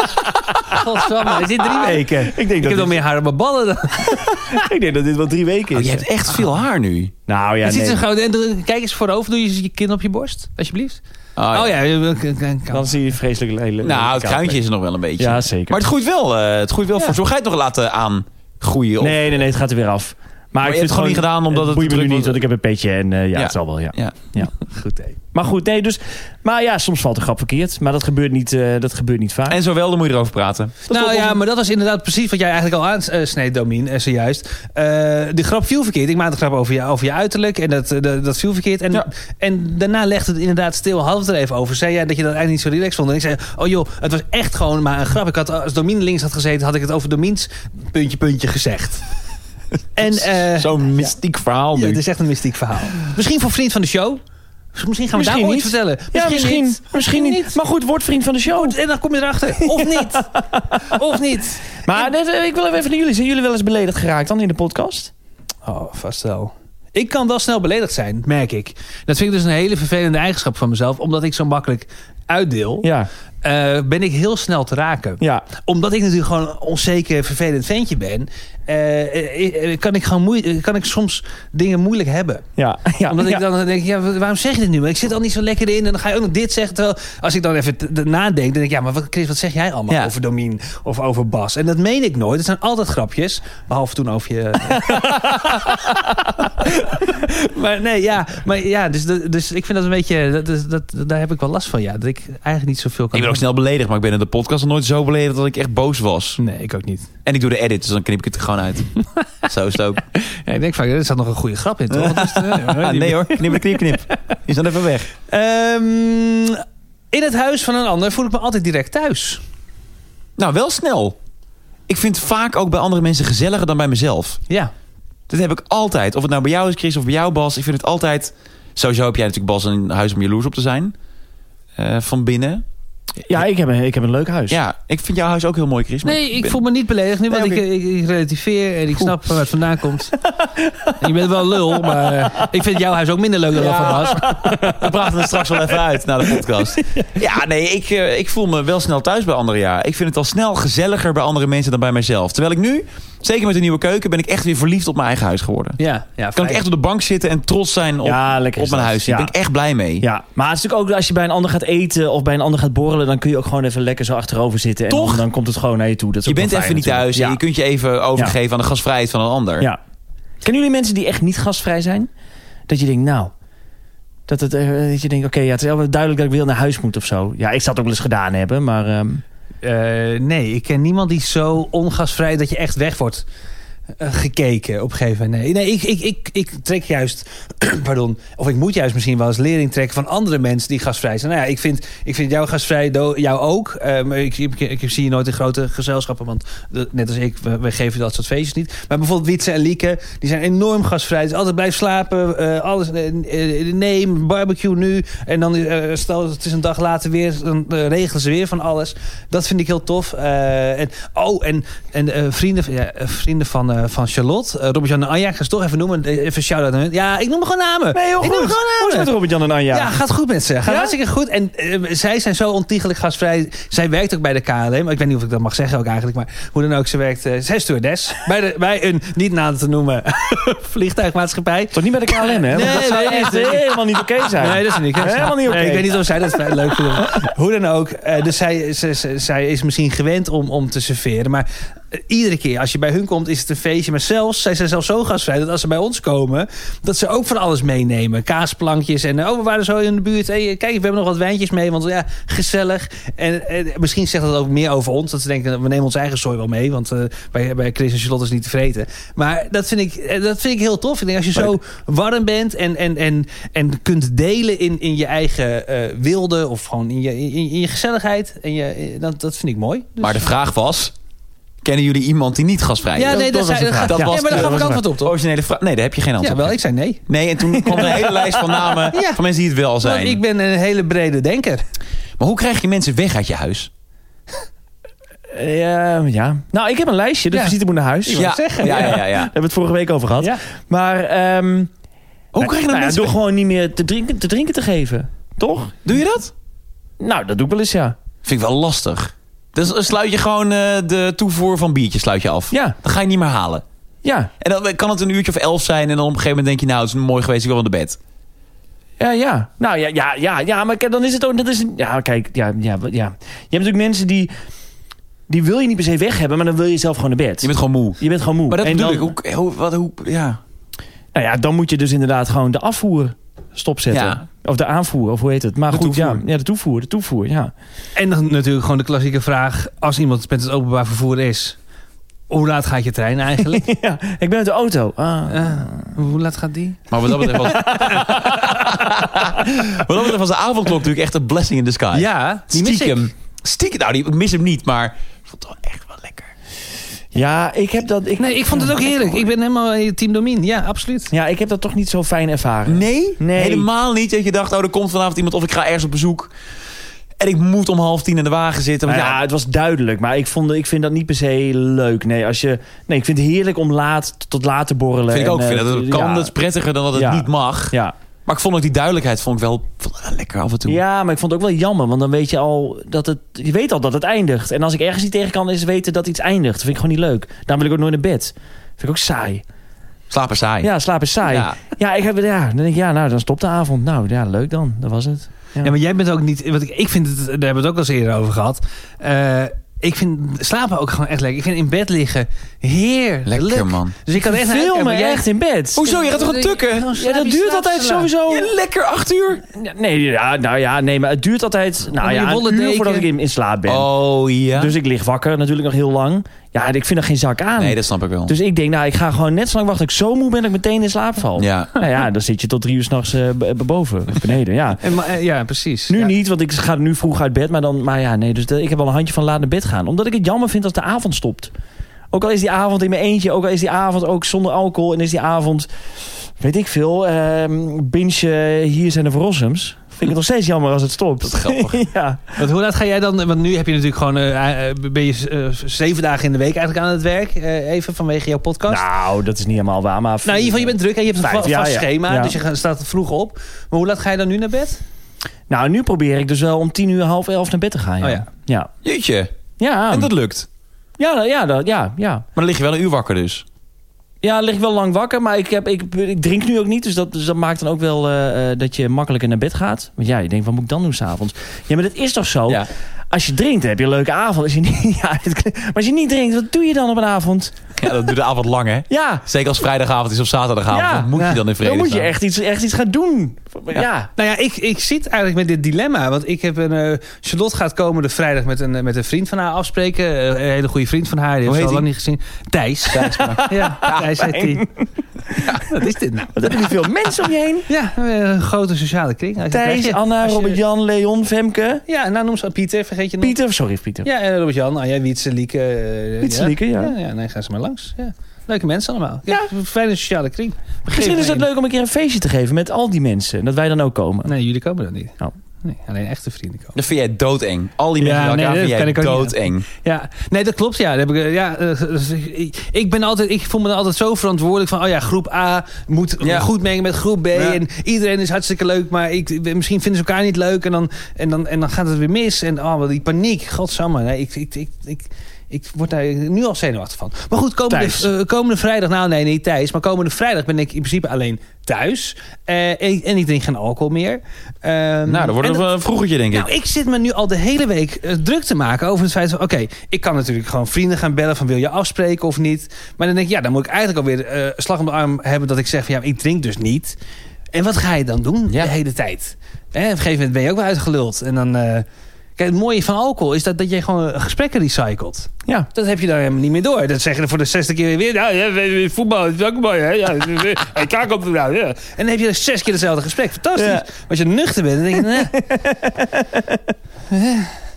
S1: *laughs* Godsamme, is dit drie weken?
S3: Ah, ik denk,
S1: Ah, Ik heb
S3: dat
S1: nog
S3: dit,
S1: meer haar op mijn ballen dan.
S3: *laughs* ik denk dat dit wel drie weken
S2: Oh,
S3: is.
S2: je hebt echt veel haar nu.
S3: Nou ja,
S1: Het zit
S3: nee.
S1: zo gauw- en doe- Kijk eens voorover, doe je je kin op je borst, alsjeblieft.
S2: Ah,
S1: Oh ja, je- je- je- je-
S3: Dan zie je vreselijk lelijk.
S2: Nou, het kuintje is er nog wel een beetje.
S3: Ja, zeker.
S2: Maar het groeit wel. eh, het groeit wel voor. Zo ga je het nog laten aangroeien. Of...
S3: Nee, nee, nee, het gaat er weer af. Maar,
S2: je
S3: ik
S2: hebt
S3: vind
S2: het gewoon niet gedaan omdat het
S3: boeit me
S2: druk
S3: nu niet,
S2: was.
S3: want ik heb een petje en eh, ja,
S2: Ja.
S3: het zal wel, ja.
S2: Ja. *laughs*
S1: Goed, hé.
S3: Maar goed, nee, dus... Maar ja, soms valt de grap verkeerd. Maar dat gebeurt niet, eh, dat gebeurt niet vaak.
S2: En zowel, dan moet je erover praten.
S1: Nou
S3: klopt,
S1: ja,
S3: of-
S1: maar dat was inderdaad precies wat jij eigenlijk al aansneed, Domien, eh, zojuist. Eh, de grap viel verkeerd. Ik maakte een grap over je, over je uiterlijk en dat, eh, dat, dat viel verkeerd. En,
S2: Ja.
S1: en daarna legde het inderdaad stil, hadden we het er even over. Zei jij dat je dat eigenlijk niet zo relaxed vond? En ik zei, oh joh, het was echt gewoon maar een grap. Ik had, als Domien links had gezeten, had ik het over Domiens puntje, puntje
S3: *laughs*
S1: gezegd. en eh,
S2: Zo'n mystiek verhaal
S1: ja,
S2: nu.
S1: het is echt een mystiek verhaal. Misschien voor vriend van de show. Misschien gaan we daar
S3: Misschien
S1: ooit
S3: niet.
S1: vertellen.
S3: ja, misschien,
S1: niet.
S3: misschien, niet. Maar goed, word vriend van de show.
S1: En dan kom je erachter. Of
S3: *laughs*
S1: niet. Of niet.
S3: Maar dit, eh, ik wil even naar jullie. Zijn jullie wel eens beledigd geraakt dan in de podcast?
S1: Oh, vast wel. Ik kan wel snel beledigd zijn, merk ik. Dat vind ik dus een hele vervelende eigenschap van mezelf. Omdat ik zo makkelijk uitdeel,
S3: Ja,
S1: eh, ben ik heel snel te raken.
S3: ja.
S1: Omdat ik natuurlijk gewoon een onzeker, vervelend ventje ben... eh, eh, eh, kan, ik gewoon moe- eh, kan ik soms dingen moeilijk hebben.
S3: Ja, ja.
S1: Omdat
S3: ja.
S1: ik dan denk, ja, wa- waarom zeg je dit nu? Want Ik zit al niet zo lekker in en dan ga je ook nog dit zeggen. Terwijl als ik dan even t- t- nadenk, dan denk ik, ja, maar wat, Chris, wat zeg jij allemaal
S2: Ja.
S1: over Domien of over Bas? En dat meen ik nooit. Het zijn altijd grapjes. Behalve toen over
S2: *laughs*
S1: je... maar nee, ja. Maar ja, dus, dat- dus ik vind dat een beetje... Dat, dat, dat- daar heb ik wel last van, ja. Dat ik eigenlijk niet zoveel kan
S2: Ik ben ook
S1: doen.
S2: snel beledigd, maar ik ben in de podcast nog nooit zo beledigd dat ik echt boos was.
S1: Nee, ik ook niet.
S2: En ik doe de edit, dus dan knip ik het er gewoon *laughs* uit. Zo is het ook.
S1: Ja, ik denk vaak, er zat nog een goede grap in,
S2: *laughs*
S1: toch? Dus, eh,
S2: Ah, nee hoor, knip, knip, knip. Is dan even weg.
S1: Ehm, in het huis van een ander voel ik me altijd direct thuis.
S2: Nou, wel snel. Ik vind het vaak ook bij andere mensen gezelliger dan bij mezelf.
S1: Ja.
S2: Dat heb ik altijd. Of het nou bij jou is, Chris, of bij jou, Bas. Ik vind het altijd... Sowieso heb jij natuurlijk, Bas, een huis om jaloers op te zijn. Eh, van binnen.
S3: Ja, ik heb een, ik heb een leuk huis.
S2: Ja, ik vind jouw huis ook heel mooi, Chris. maar
S1: Nee, ik
S2: ben-
S1: voel me niet beledigd nu, want
S2: Nee,
S1: ik, ik, ik relativeer en ik snap waar het vandaan
S2: *laughs*
S1: komt. En je bent wel een lul, maar eh, ik vind jouw huis ook minder leuk dan dat van
S2: *laughs*
S1: Bas.
S2: We praten er straks
S1: *laughs*
S2: wel even uit na de podcast. Ja, nee, ik, eh, ik voel me wel snel thuis bij anderen. Ja. Ik vind het al snel gezelliger bij andere mensen dan bij mezelf. Terwijl ik nu, zeker met de nieuwe keuken, ben ik echt weer verliefd op mijn eigen huis geworden.
S1: Ja, ja
S2: Kan ik echt op de bank zitten en trots zijn op,
S3: Ja, lekker
S2: op
S3: is
S2: mijn
S3: dat.
S2: huis.
S3: Ja.
S2: Daar ben ik echt blij mee.
S3: Ja, maar het is natuurlijk ook als je bij een ander gaat eten of bij een ander gaat borrelen, dan kun je ook gewoon even lekker zo achterover zitten. En
S2: Toch?
S3: Dan, dan komt het gewoon naar je toe. Dat is
S2: Je
S3: ook wel
S2: bent even
S3: fijn
S2: niet thuis
S3: natuurlijk.
S2: en je kunt je even overgeven aan de gastvrijheid van een ander.
S3: Ja. ja. Kennen jullie mensen die echt niet gastvrij zijn? Dat je denkt, nou, dat, het, eh, dat je denkt, oké, ja, het is wel duidelijk dat ik weer naar huis moet of zo. Ja, ik zou het ook wel eens gedaan hebben, maar ehm,
S1: Eh, nee, ik ken niemand die zo ongasvrij dat je echt weg wordt eh, gekeken op een gegeven moment. Nee, nee ik, ik, ik, ik trek juist, *clears throat* pardon, of ik moet juist misschien wel eens lering trekken van andere mensen die gasvrij zijn. Nou ja, ik vind, ik vind jou gasvrij, do- jou ook. Eh, maar ik, ik, ik zie je nooit in grote gezelschappen, want de- net als ik, we, we geven dat soort feestjes niet. Maar bijvoorbeeld Witse en Lieke, die zijn enorm gasvrij. Dus altijd blijf slapen, eh, alles eh, eh, neem, barbecue nu. En dan, eh, stel het is een dag later weer, dan eh, regelen ze weer van alles. Dat vind ik heel tof. Eh, en, oh, en, en eh, vrienden, ja, eh, vrienden van, eh, van Charlotte, eh Robert-Jan en Anja, ik ga ze toch even noemen. Eh, Even shout-out aan hun. Ja, ik noem gewoon namen.
S3: Nee, heel
S1: ik noem
S3: goed.
S1: gewoon
S3: hoe is
S1: namen.
S3: het met Robert-Jan en Anja?
S1: Ja. gaat goed met ze. Gaat
S3: Ja?
S1: hartstikke goed. En eh, zij zijn zo ontiegelijk gastvrij. Zij werkt ook bij de KLM. Ik weet niet of ik dat mag zeggen ook eigenlijk. Maar hoe dan ook, ze werkt... eh, zij is stewardess. bij, de, bij een niet naam te noemen *laughs* vliegtuigmaatschappij.
S3: Toch niet bij de KLM, hè? Want
S1: Nee,
S3: dat zou
S1: nee,
S3: echt
S1: nee.
S3: helemaal niet oké zijn.
S1: Ah, Nee, dat is niet.
S3: Helemaal niet oké.
S1: Nee, ik weet niet of zij dat fijn- leuk
S3: *laughs*
S1: vinden. Hoe dan ook. eh, dus zij, ze- ze- zij is misschien gewend om, om te serveren. Maar eh, iedere keer als je bij hun komt, is het een feestje. Maar zelfs, zij zijn zelfs zo gastvrij dat als ze bij ons komen, dat ze ook van alles meenemen. Kaasplankjes en eh, oh, we waren zo in de buurt. Hey, eh, kijk, we hebben nog wat wijntjes mee, want ja, gezellig. En, en misschien zegt dat ook meer over ons. Dat ze denken, we nemen ons eigen zooi wel mee. Want eh, bij, bij Chris en Charlotte is niet te vreten. Maar dat vind ik, eh, dat vind ik heel tof. Ik denk, als je zo warm bent en, en, en, en kunt delen in, in je eigen eh, wilde... of gewoon in je, in, in je gezelligheid, en je, eh, dat, dat vind ik mooi. Dus-
S2: Maar de vraag was, kennen jullie iemand die niet gasvrij is?
S1: ja, nee, dat, zei-
S3: was de
S1: dat,
S3: vraag.
S1: gaat-
S3: Ja.
S1: ja, maar daar
S2: de-
S1: gaf ik antwoord op, toch?
S2: Originele vraag. Nee, daar heb je geen
S1: Ja,
S2: antwoord
S1: wel,
S2: op.
S1: ik zei nee.
S2: Nee, en
S1: *laughs*
S2: toen kwam er een hele lijst van namen
S1: Ja.
S2: van mensen die het wel
S1: Want
S2: zijn.
S1: ik ben een hele brede denker.
S2: Maar hoe krijg je mensen weg uit je huis?
S3: Eh, ja. Nou, ik heb een lijstje. De
S1: Ja.
S3: visite moet naar huis.
S1: Ik wou het zeggen.
S2: ja, ja, ja, ja.
S3: Daar hebben we het vorige week over gehad.
S1: Ja.
S3: Maar ehm,
S2: Hoe krijg je
S3: nou
S2: dan
S3: ja,
S2: mensen
S3: door
S2: weg?
S3: gewoon niet meer te drinken, te drinken te geven. Toch?
S2: Doe je dat?
S3: Nou, dat doe ik wel eens, ja.
S2: Vind ik wel lastig. Dus dan sluit je gewoon eh, de toevoer van biertje sluit je af.
S3: Ja.
S2: Dan ga je niet meer halen.
S3: Ja,
S2: En dan kan het een uurtje of elf zijn. En dan op een gegeven moment denk je, nou, het is mooi geweest, ik wil naar bed.
S3: ja, ja. Nou ja, ja, ja, ja. Maar kijk, dan is het ook... Dat is, ja, kijk, ja, ja, ja. Je hebt natuurlijk mensen die... Die wil je niet per se weg hebben, maar dan wil je zelf gewoon naar bed.
S2: Je bent gewoon moe.
S3: Je bent gewoon moe.
S2: Maar dat
S3: en
S2: bedoel
S3: dan,
S2: ik. Hoe, hoe, wat, hoe, ja.
S3: Nou ja, dan moet je dus inderdaad gewoon de afvoer stopzetten.
S2: Ja.
S3: Of de aanvoer, of hoe heet het? Maar
S2: De
S3: goed, ja.
S2: toevoer.
S3: Ja, de toevoer, de toevoer, ja. *laughs*
S1: En dan natuurlijk gewoon de klassieke vraag... als iemand met het openbaar vervoer is... hoe laat gaat je trein eigenlijk?
S3: ja. Ik ben uit de auto. Ah.
S1: Eh, hoe laat gaat die?
S2: Maar wat dat betreft was... *laughs* wat dat betreft was de avondklok natuurlijk echt een blessing in disguise.
S1: Ja, die mis
S2: Stiekem.
S1: ik.
S2: Stiekem. Nou, die ik mis hem niet, maar... Ik vond het wel echt wel lekker.
S3: Ja, ik heb dat... Ik,
S1: Nee, ik vond het ook heerlijk. Ik ben helemaal in je team Domien. Ja, absoluut.
S3: Ja, ik heb dat toch niet zo fijn ervaren.
S2: Nee?
S3: Nee.
S2: Helemaal niet. Dat je dacht, oh, er komt vanavond iemand of ik ga ergens op bezoek. En ik moet om half tien in de wagen zitten.
S3: Nou
S2: Want
S3: ja,
S2: ja,
S3: het was duidelijk, maar ik, vond, ik vind dat niet per se leuk. Nee, als je, nee, ik vind het heerlijk om laat t- tot laat te borrelen.
S2: vind ik
S3: en,
S2: ook. Ik Vind
S3: eh,
S2: dat het kan,
S3: ja,
S2: dat is prettiger dan dat het
S3: Ja.
S2: niet mag.
S3: ja.
S2: Maar ik vond ook die duidelijkheid vond ik wel, vond ik wel lekker af en toe.
S3: ja, maar ik vond het ook wel jammer, want dan weet je al dat het, je weet al dat het eindigt. En als ik ergens niet tegen kan, is weten dat iets eindigt. Dat vind ik gewoon niet leuk. Daarom wil ik ook nooit naar bed. Vind ik ook saai.
S2: Slaap er saai.
S3: Ja, slapen is saai.
S2: Ja.
S3: Ja, ik heb, ja, dan denk ik, ja, nou, dan stopt de avond. Nou, ja, leuk dan. Dat was het.
S1: Ja, maar jij bent ook niet... Want ik, ik vind het... Daar hebben we het ook al eens eerder over gehad. Eh, ik vind slapen ook gewoon echt lekker. Ik vind in bed liggen heerlijk.
S2: Lekker, man.
S1: Dus ik kan echt...
S3: Filmen
S1: maar jij-
S3: echt in bed.
S2: Hoezo? Je gaat toch aan tukken?
S1: Gewoon
S3: Ja, dat
S1: slaapje,
S3: duurt
S1: slaap,
S3: altijd
S1: slaap.
S3: sowieso...
S2: Oh. Ja, lekker acht uur.
S3: Nee, ja, nou ja, nee, maar het duurt altijd nou
S1: die
S3: ja,
S1: wollen
S3: een uur
S1: deken.
S3: voordat ik in, in slaap ben.
S2: Oh ja.
S3: Dus ik lig wakker natuurlijk nog heel lang. Ja, en ik vind er geen zak aan.
S2: nee, dat snap ik wel.
S3: Dus ik denk, nou, ik ga gewoon net zo lang wachten. dat Ik zo moe ben dat ik meteen in slaap val.
S2: Ja.
S3: Nou ja, dan zit je tot drie uur s'nachts eh
S2: *laughs*
S3: b- boven, of beneden, ja.
S1: En, maar, eh, ja, precies.
S3: Nu
S1: Ja.
S3: niet, want ik ga nu vroeg uit bed. Maar, dan, maar ja, nee, dus dat- ik heb al een handje van laat naar bed gaan. Omdat ik het jammer vind als de avond stopt. Ook al is die avond in mijn eentje, ook al is die avond ook zonder alcohol... en is die avond, weet ik veel, ehm binge eh, hier zijn de verrossums. Vind ik het nog steeds jammer als het stopt. Dat is
S2: grappig.
S3: *laughs* ja.
S1: Want hoe laat ga jij dan? Want nu heb je natuurlijk gewoon. eh, eh, ben je eh, zeven dagen in de week eigenlijk aan het werk. eh, even vanwege jouw podcast. Nou,
S3: Nou, dat is niet helemaal waar. Maar
S1: in ieder geval, je bent druk en je hebt een
S3: Vijf,
S1: va-
S3: ja,
S1: vast
S3: ja.
S1: schema.
S3: Ja.
S1: Dus je gaat- staat vroeg op. Maar hoe laat ga je dan nu naar bed?
S3: Nou, nu probeer ik dus wel om tien uur, half elf naar bed te gaan. Ja.
S1: Oh ja.
S3: Ja.
S2: Jeetje.
S3: Ja,
S2: En dat lukt.
S3: ja, dat- ja, dat- ja, ja.
S2: Maar dan lig je wel een uur wakker dus.
S3: Ja, lig ik wel lang wakker, maar ik, heb, ik, ik drink nu ook niet. Dus dat, dus dat maakt dan ook wel eh, eh, dat je makkelijker naar bed gaat. Want ja, je denkt, wat moet ik dan doen s'avonds? Ja, maar dat is toch zo?
S2: Ja.
S3: Als je drinkt, heb je een leuke avond. Als je niet, *laughs* ja, het klinkt- maar als je niet drinkt, wat doe je dan op een avond?
S2: Ja, dat duurt de avond lang, hè?
S3: Ja,
S2: Zeker als vrijdagavond is of zaterdagavond.
S3: ja.
S2: dan moet je
S3: Ja.
S2: dan in vrede
S3: Dan moet je
S2: staan.
S3: echt iets, echt iets gaan doen. Ja.
S1: Nou ja, ik, ik zit eigenlijk met dit dilemma. Want ik heb een. eh, Charlotte gaat komende vrijdag met een, eh, met een vriend van haar afspreken. Eh, een hele goede vriend van haar. Die heeft
S2: Hoe
S1: ze al
S2: heet
S1: lang niet gezien. Thijs. *laughs* ja, Thijs heet die. Ja, wat is dit nou?
S3: Wat heb je nu veel mensen om je heen?
S1: Ja, een eh, grote sociale kring. Als je- als
S3: Thijs,
S1: je-
S3: Anna,
S1: als je-
S3: Robert-Jan, Leon, Femke.
S1: Ja, en nou noem ze Pieter, vergeet je nog.
S3: Pieter, sorry Pieter.
S1: Ja, en Robert-Jan, Anja Wietse, Lieke. eh,
S3: Wietse, Lieke, ja.
S1: ja. Ja, nee, gaan ze maar langs. Ja. Leuke mensen allemaal.
S3: Ja.
S1: Ja. Een fijne sociale kring.
S3: Misschien is het
S1: Geef
S3: leuk om een keer een feestje te geven met al die mensen. En dat wij dan ook komen.
S1: Nee, jullie komen dan niet.
S3: Oh.
S1: Nee, alleen echte vrienden komen.
S2: Dat vind jij doodeng. Al die mensen
S1: Ja,
S2: bij elkaar
S1: nee, dat
S2: vind
S1: kan
S2: jij
S1: ik ook niet.
S2: doodeng.
S1: Ja, nee, dat klopt. Ja, dat heb ik, eh, ja eh, ik- ik, ben altijd, ik voel me dan altijd zo verantwoordelijk van... oh ja, groep A moet
S2: Ja.
S1: goed mengen met groep B.
S2: Ja.
S1: En iedereen is hartstikke leuk, maar ik, misschien vinden ze elkaar niet leuk. En dan, en dan, en dan gaat het weer mis. En oh, wat die paniek. Godsamme. Nee, ik, ik, ik, ik, ik word daar nu al zenuwachtig van. Maar goed, komende,
S3: Thijs.
S1: eh, komende vrijdag... nou nee, niet Thijs. Maar komende vrijdag ben ik in principe alleen thuis. Eh, en, en ik drink geen alcohol meer. Ehm,
S2: Nou, dan wordt
S1: en
S2: het wel een vroegertje, denk ik.
S1: nou, ik zit me nu al de hele week eh, druk te maken over het feit van... oké, ik kan natuurlijk gewoon vrienden gaan bellen van wil je afspreken of niet. Maar dan denk ik, ja, dan moet ik eigenlijk alweer eh slag om de arm hebben... dat ik zeg van ja, ik drink dus niet. En wat ga je dan doen
S2: Ja.
S1: de hele tijd? Hè, op een gegeven moment ben je ook wel uitgeluld. En dan... eh, Kijk, het mooie van alcohol is dat, dat je gewoon gesprekken recycelt.
S3: Ja.
S1: Dat heb je daar helemaal niet meer door. Dat zeggen voor de zesde keer weer. Nou, ja, we- we- voetbal is ook mooi, hè? Ja, *laughs* ik kijk op de nou, ja. En dan heb je dus zes keer hetzelfde gesprek. Fantastisch.
S3: Ja.
S1: Als je nuchter bent, dan denk je... nou, nee.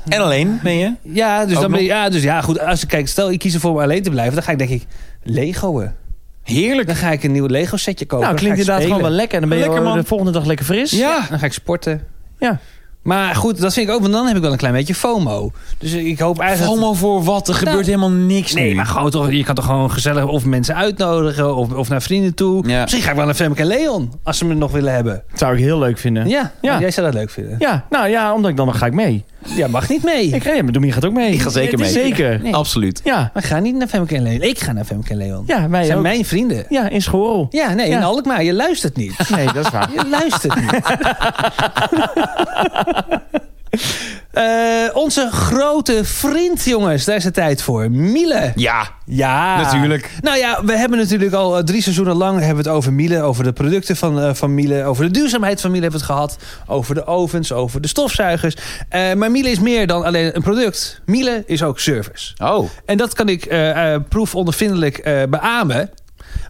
S2: En alleen ben je?
S1: Ja, dus,
S2: Ook
S1: dan ben
S2: nog?
S1: je, ja, dus ja, goed. Als ik kijk, stel ik kies ervoor om alleen te blijven, dan ga ik denk ik Lego'en.
S2: Heerlijk.
S1: Dan ga ik een nieuw Lego setje kopen.
S3: Nou, klinkt
S1: Dan ga
S3: inderdaad
S1: ik spelen.
S3: gewoon wel lekker. En dan ben je
S2: Lekker,
S3: wel eh,
S2: man.
S3: de volgende dag lekker fris.
S1: Ja, dan ga ik sporten.
S3: Ja.
S1: Maar goed, dat vind ik ook, want dan heb ik wel een klein beetje FOMO. Dus ik hoop eigenlijk.
S2: Promo voor wat? Er gebeurt helemaal niks
S1: Nou. Nee,
S2: nu.
S1: maar gewoon toch, je kan toch gewoon gezellig of mensen uitnodigen of, of naar vrienden toe.
S2: Ja.
S1: Misschien ga ik wel naar Femke en Leon, als ze me nog willen hebben.
S3: Dat zou ik heel leuk vinden.
S1: Ja,
S3: Ja.
S1: jij zou dat leuk vinden.
S3: Ja, nou ja, omdat ik dan, dan ga ik mee.
S1: Jij mag niet mee.
S3: Ik ga, ja, maar Domien gaat ook mee.
S2: Ik ga zeker
S3: Het is
S2: mee.
S3: Zeker.
S1: Nee.
S2: Absoluut.
S3: Ja,
S1: Maar ik ga niet naar Femke en Leon. Ik ga naar Femke en Leon.
S3: ja wij
S1: zijn
S3: ook.
S1: mijn vrienden.
S3: Ja, in Schorl.
S1: Ja, nee,
S3: Ja.
S1: in Alkmaar, je luistert niet.
S3: Nee, dat is waar.
S1: Je luistert niet. *laughs* Eh, onze grote vriend, jongens. Daar is de tijd voor. Miele.
S2: Ja,
S1: Ja.
S2: natuurlijk.
S1: Nou ja, we hebben natuurlijk al eh, drie seizoenen lang hebben we het over Miele. Over de producten van, eh, van Miele. Over de duurzaamheid van Miele hebben we het gehad. Over de ovens, over de stofzuigers. Eh, maar Miele is meer dan alleen een product. Miele is ook service.
S2: Oh.
S1: En dat kan ik eh eh proefondervindelijk eh, beamen.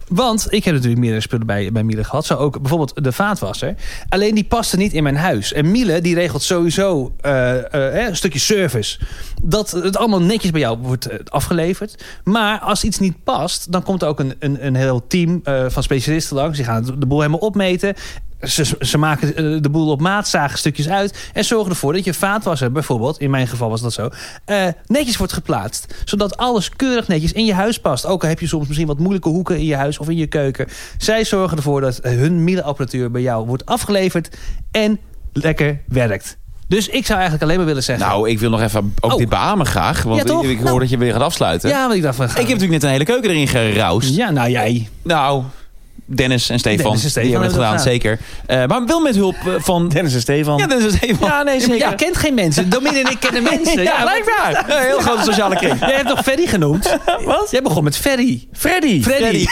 S1: Want ik heb natuurlijk meerdere spullen bij, bij Miele gehad. Zo ook bijvoorbeeld de vaatwasser. Alleen die paste niet in mijn huis. En Miele die regelt sowieso eh, eh, hè, een stukje service. Dat het allemaal netjes bij jou wordt eh, afgeleverd. Maar als iets niet past, dan komt er ook een, een, een heel team eh, van specialisten langs. Die gaan de boel helemaal opmeten. Ze, ze maken eh, de boel op maat, zagen stukjes uit. En zorgen ervoor dat je vaatwasser bijvoorbeeld, in mijn geval was dat zo, eh, netjes wordt geplaatst. Zodat alles keurig netjes in je huis past. Ook al heb je soms misschien wat moeilijke hoeken in je huis of in je keuken. Zij zorgen ervoor dat eh, hun middenapparatuur bij jou wordt afgeleverd en lekker werkt. Dus ik zou eigenlijk alleen maar willen zeggen.
S2: Nou, ik wil nog even ook
S1: Oh.
S2: dit beamen graag.
S1: Ja,
S2: Want
S1: toch?
S2: ik, ik hoor
S1: Nou.
S2: dat je weer gaat afsluiten.
S1: ja, want ik dacht van.
S2: Ik heb natuurlijk net een hele keuken erin geroust.
S1: Ja, nou jij.
S2: Nou, Dennis en Stefan.
S1: Dennis en Stefan
S2: die hebben het
S1: hebben
S2: gedaan,
S1: dat
S2: zeker. Eh, maar wel met hulp eh, van...
S3: *laughs* Dennis en Stefan.
S2: Ja, Dennis en Stefan.
S3: Ja, nee,
S1: Jij kent geen mensen. Dominic en ik
S2: *laughs*
S1: kennen mensen. Ja, maar-
S2: blijkbaar. Een heel grote sociale kring.
S1: Jij hebt nog Ferry genoemd.
S3: Wat?
S1: Jij begon met Ferry.
S3: Freddy.
S1: Freddy.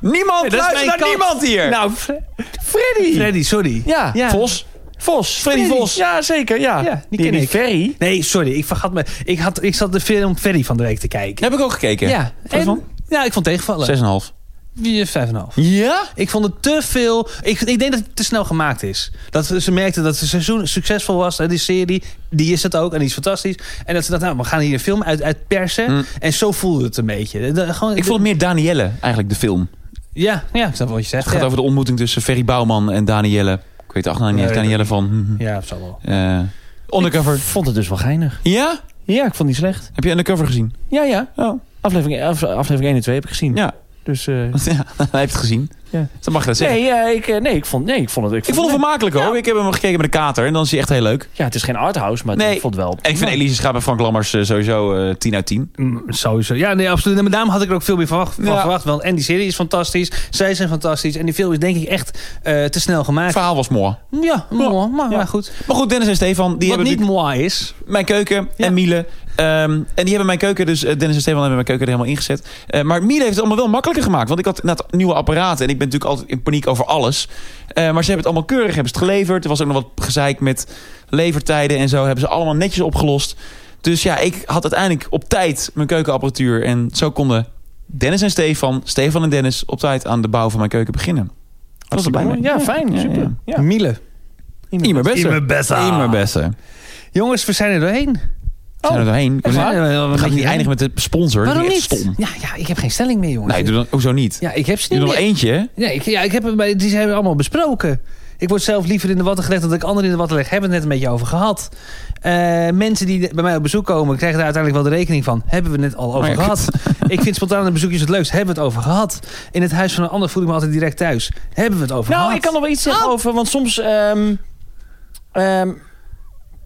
S2: Niemand
S1: dat is
S2: luistert
S1: mijn
S2: naar
S1: kat.
S2: niemand hier.
S1: Nou, Fre-
S3: Freddy.
S1: Freddy, sorry.
S3: Ja.
S2: Vos.
S3: Vos.
S2: Freddy Vos.
S3: Ja, zeker. Ja,
S1: Ja, die ken ik.
S3: Ferry.
S1: Nee, sorry. Ik vergat me. Ik, had, ik zat de film Ferry van de week te kijken.
S2: Heb ik ook gekeken.
S1: Ja.
S2: ervan?
S1: En, ja, ik vond het tegenvallen.
S2: 6,5.
S1: Wie- Vijf en een half.
S2: Ja?
S1: Ik vond het te veel. Ik, ik denk dat het te snel gemaakt is. Dat ze merkten dat het seizoen succesvol was. hè, Die serie, die is het ook. En die is fantastisch. En dat ze dachten, nou, we gaan hier een film uit, uit persen.
S2: Mm.
S1: En zo voelde het een beetje. Dat- gewoon,
S2: Ik vond het meer Danielle, eigenlijk, de film.
S1: Ja, ja, ik snap wat je zegt.
S2: Het gaat
S1: ja.
S2: over de ontmoeting tussen Ferry Bouwman en Danielle Ik weet de achternaam niet,
S1: Nee,
S2: ik kan niet jellen van.
S1: Ja, dat zal wel.
S2: Eh,
S3: Ik
S2: undercover.
S3: vond het dus wel geinig.
S2: Ja?
S3: Ja, ik vond die slecht.
S2: Heb je Undercover gezien?
S3: Ja, ja.
S2: Oh.
S3: Aflevering, eh, af- aflevering 1 en 2 heb ik gezien.
S2: Ja. *laughs*
S3: Dus, eh,
S2: ja, *laughs* hij heeft het gezien.
S3: Ja.
S2: Dan mag je dat zeggen.
S3: nee, ja, ik, eh, nee, ik vond, nee, ik vond het...
S2: Ik vond het vermakelijk hoor. Ik heb hem gekeken met de kater en dan is hij echt heel leuk.
S3: Ja, het is geen arthouse, maar
S2: Nee. Eh,
S3: ik vond het wel...
S2: En ik vind Elise Schaap en Frank Lammers eh, sowieso eh 10 uit 10.
S1: Mm, sowieso. Ja, nee, absoluut. En met daarom had ik er ook veel meer van, wacht- van
S2: Ja.
S1: verwacht. Want en die serie is fantastisch. Zij zijn fantastisch. En die film is denk ik echt eh, te snel
S2: Het
S1: gemaakt.
S2: verhaal was mooi.
S1: ja, mooi, maar,
S2: Ja.
S1: maar goed.
S2: Maar goed, Dennis en Stefan,
S1: Wat
S2: die hebben
S1: niet
S2: natuurlijk
S1: mooi is.
S2: mijn keuken
S1: Ja.
S2: en Miele. ehm, en die hebben mijn keuken, dus eh, Dennis en Stefan hebben mijn keuken er helemaal ingezet. Eh, maar Miele heeft het allemaal wel makkelijker gemaakt. Want ik had net nieuwe apparaten en ik ben natuurlijk altijd in paniek over alles. Eh, maar ze hebben het allemaal keurig, hebben ze het geleverd. Er was ook nog wat gezeik met levertijden en zo. Hebben ze allemaal netjes opgelost. Dus ja, ik had uiteindelijk op tijd mijn keukenapparatuur. En zo konden Dennis en Stefan, Stefan en Dennis op tijd aan de bouw van mijn keuken beginnen. Dat was
S3: Hartstikke
S2: er blij
S3: mooi.
S2: mee.
S3: Ja, fijn.
S2: Ja,
S3: super.
S2: ja.
S3: Ja.
S1: Miele.
S2: Immer beste.
S1: Immer beste.
S2: Immer beste.
S1: Jongens, we zijn er doorheen.
S2: Zijn
S3: Oh,
S2: we er doorheen?
S1: We
S2: We
S1: zijn
S2: zijn-
S1: er wel een
S2: We gaan
S1: beetje
S2: niet eindigen met de sponsor.
S1: Waarom
S2: Dat
S1: niet?
S2: is echt stom.
S1: Ja, ja, ik heb geen stelling meer, jongens.
S2: Nee, doe dan, hoezo niet?
S1: Ja, ik heb ze
S2: Doe
S1: niet
S2: nog
S1: meer.
S2: eentje. hè?
S1: Nee, ik, ja, ik heb, hem bij- die zijn we allemaal besproken. Ik word zelf liever in de watten gelegd dan dat ik anderen in de watten leg. Hebben we het net een beetje over gehad. Eh, mensen die bij mij op bezoek komen, krijgen daar uiteindelijk wel de rekening van. Hebben we het net al over
S3: Oh
S2: Maar ja,
S1: gehad. ik vind spontane bezoekjes het leukst. Hebben we het over gehad. In het huis van een ander voel ik me altijd direct thuis. Hebben we het over gehad.
S3: Nou, ik kan nog wel iets
S2: Oh.
S3: zeggen over, want soms... ehm, ehm,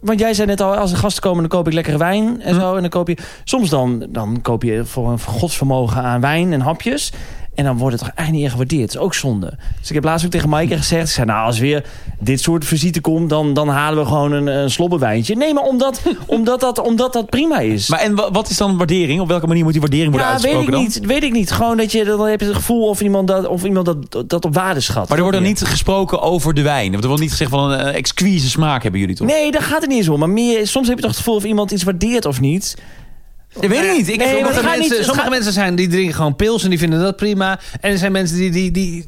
S3: want jij zei net al, als er gasten komen, dan koop ik lekkere wijn
S2: Hm.
S3: en zo. En dan koop je, soms dan, dan koop je voor een godsvermogen aan wijn en hapjes. En dan wordt het toch eigenlijk niet echt gewaardeerd. Dat is ook zonde. Dus ik heb laatst ook tegen Maaike gezegd. Ik zei, nou, als weer dit soort visite komt, dan, dan halen we gewoon een, een slobbenwijntje. Nee, maar
S2: *laughs*
S3: omdat, omdat, dat, omdat dat prima is.
S2: Maar en wa- wat is dan waardering? Op welke manier moet die waardering worden
S3: ja, weet
S2: uitgesproken
S3: ik
S2: dan?
S3: niet. Weet ik niet. Gewoon dat je, dan heb je het gevoel of iemand dat, of iemand dat, dat op waarde schat.
S2: Maar er wordt dan niet gesproken over de wijn. Er wordt niet gezegd van een eh, exquise smaak hebben jullie toch?
S3: Nee, daar gaat het niet eens om. Maar meer, soms heb je toch het gevoel of iemand iets waardeert of niet.
S2: Ik weet het niet. Ik
S3: Nee,
S2: heb
S3: maar
S2: nog
S1: Sommige,
S3: het
S2: een-
S3: gaat
S1: mensen,
S3: niet- het
S1: sommige
S3: gaat-
S1: mensen zijn, die drinken gewoon pils en die vinden dat prima. En er zijn mensen die, die, die,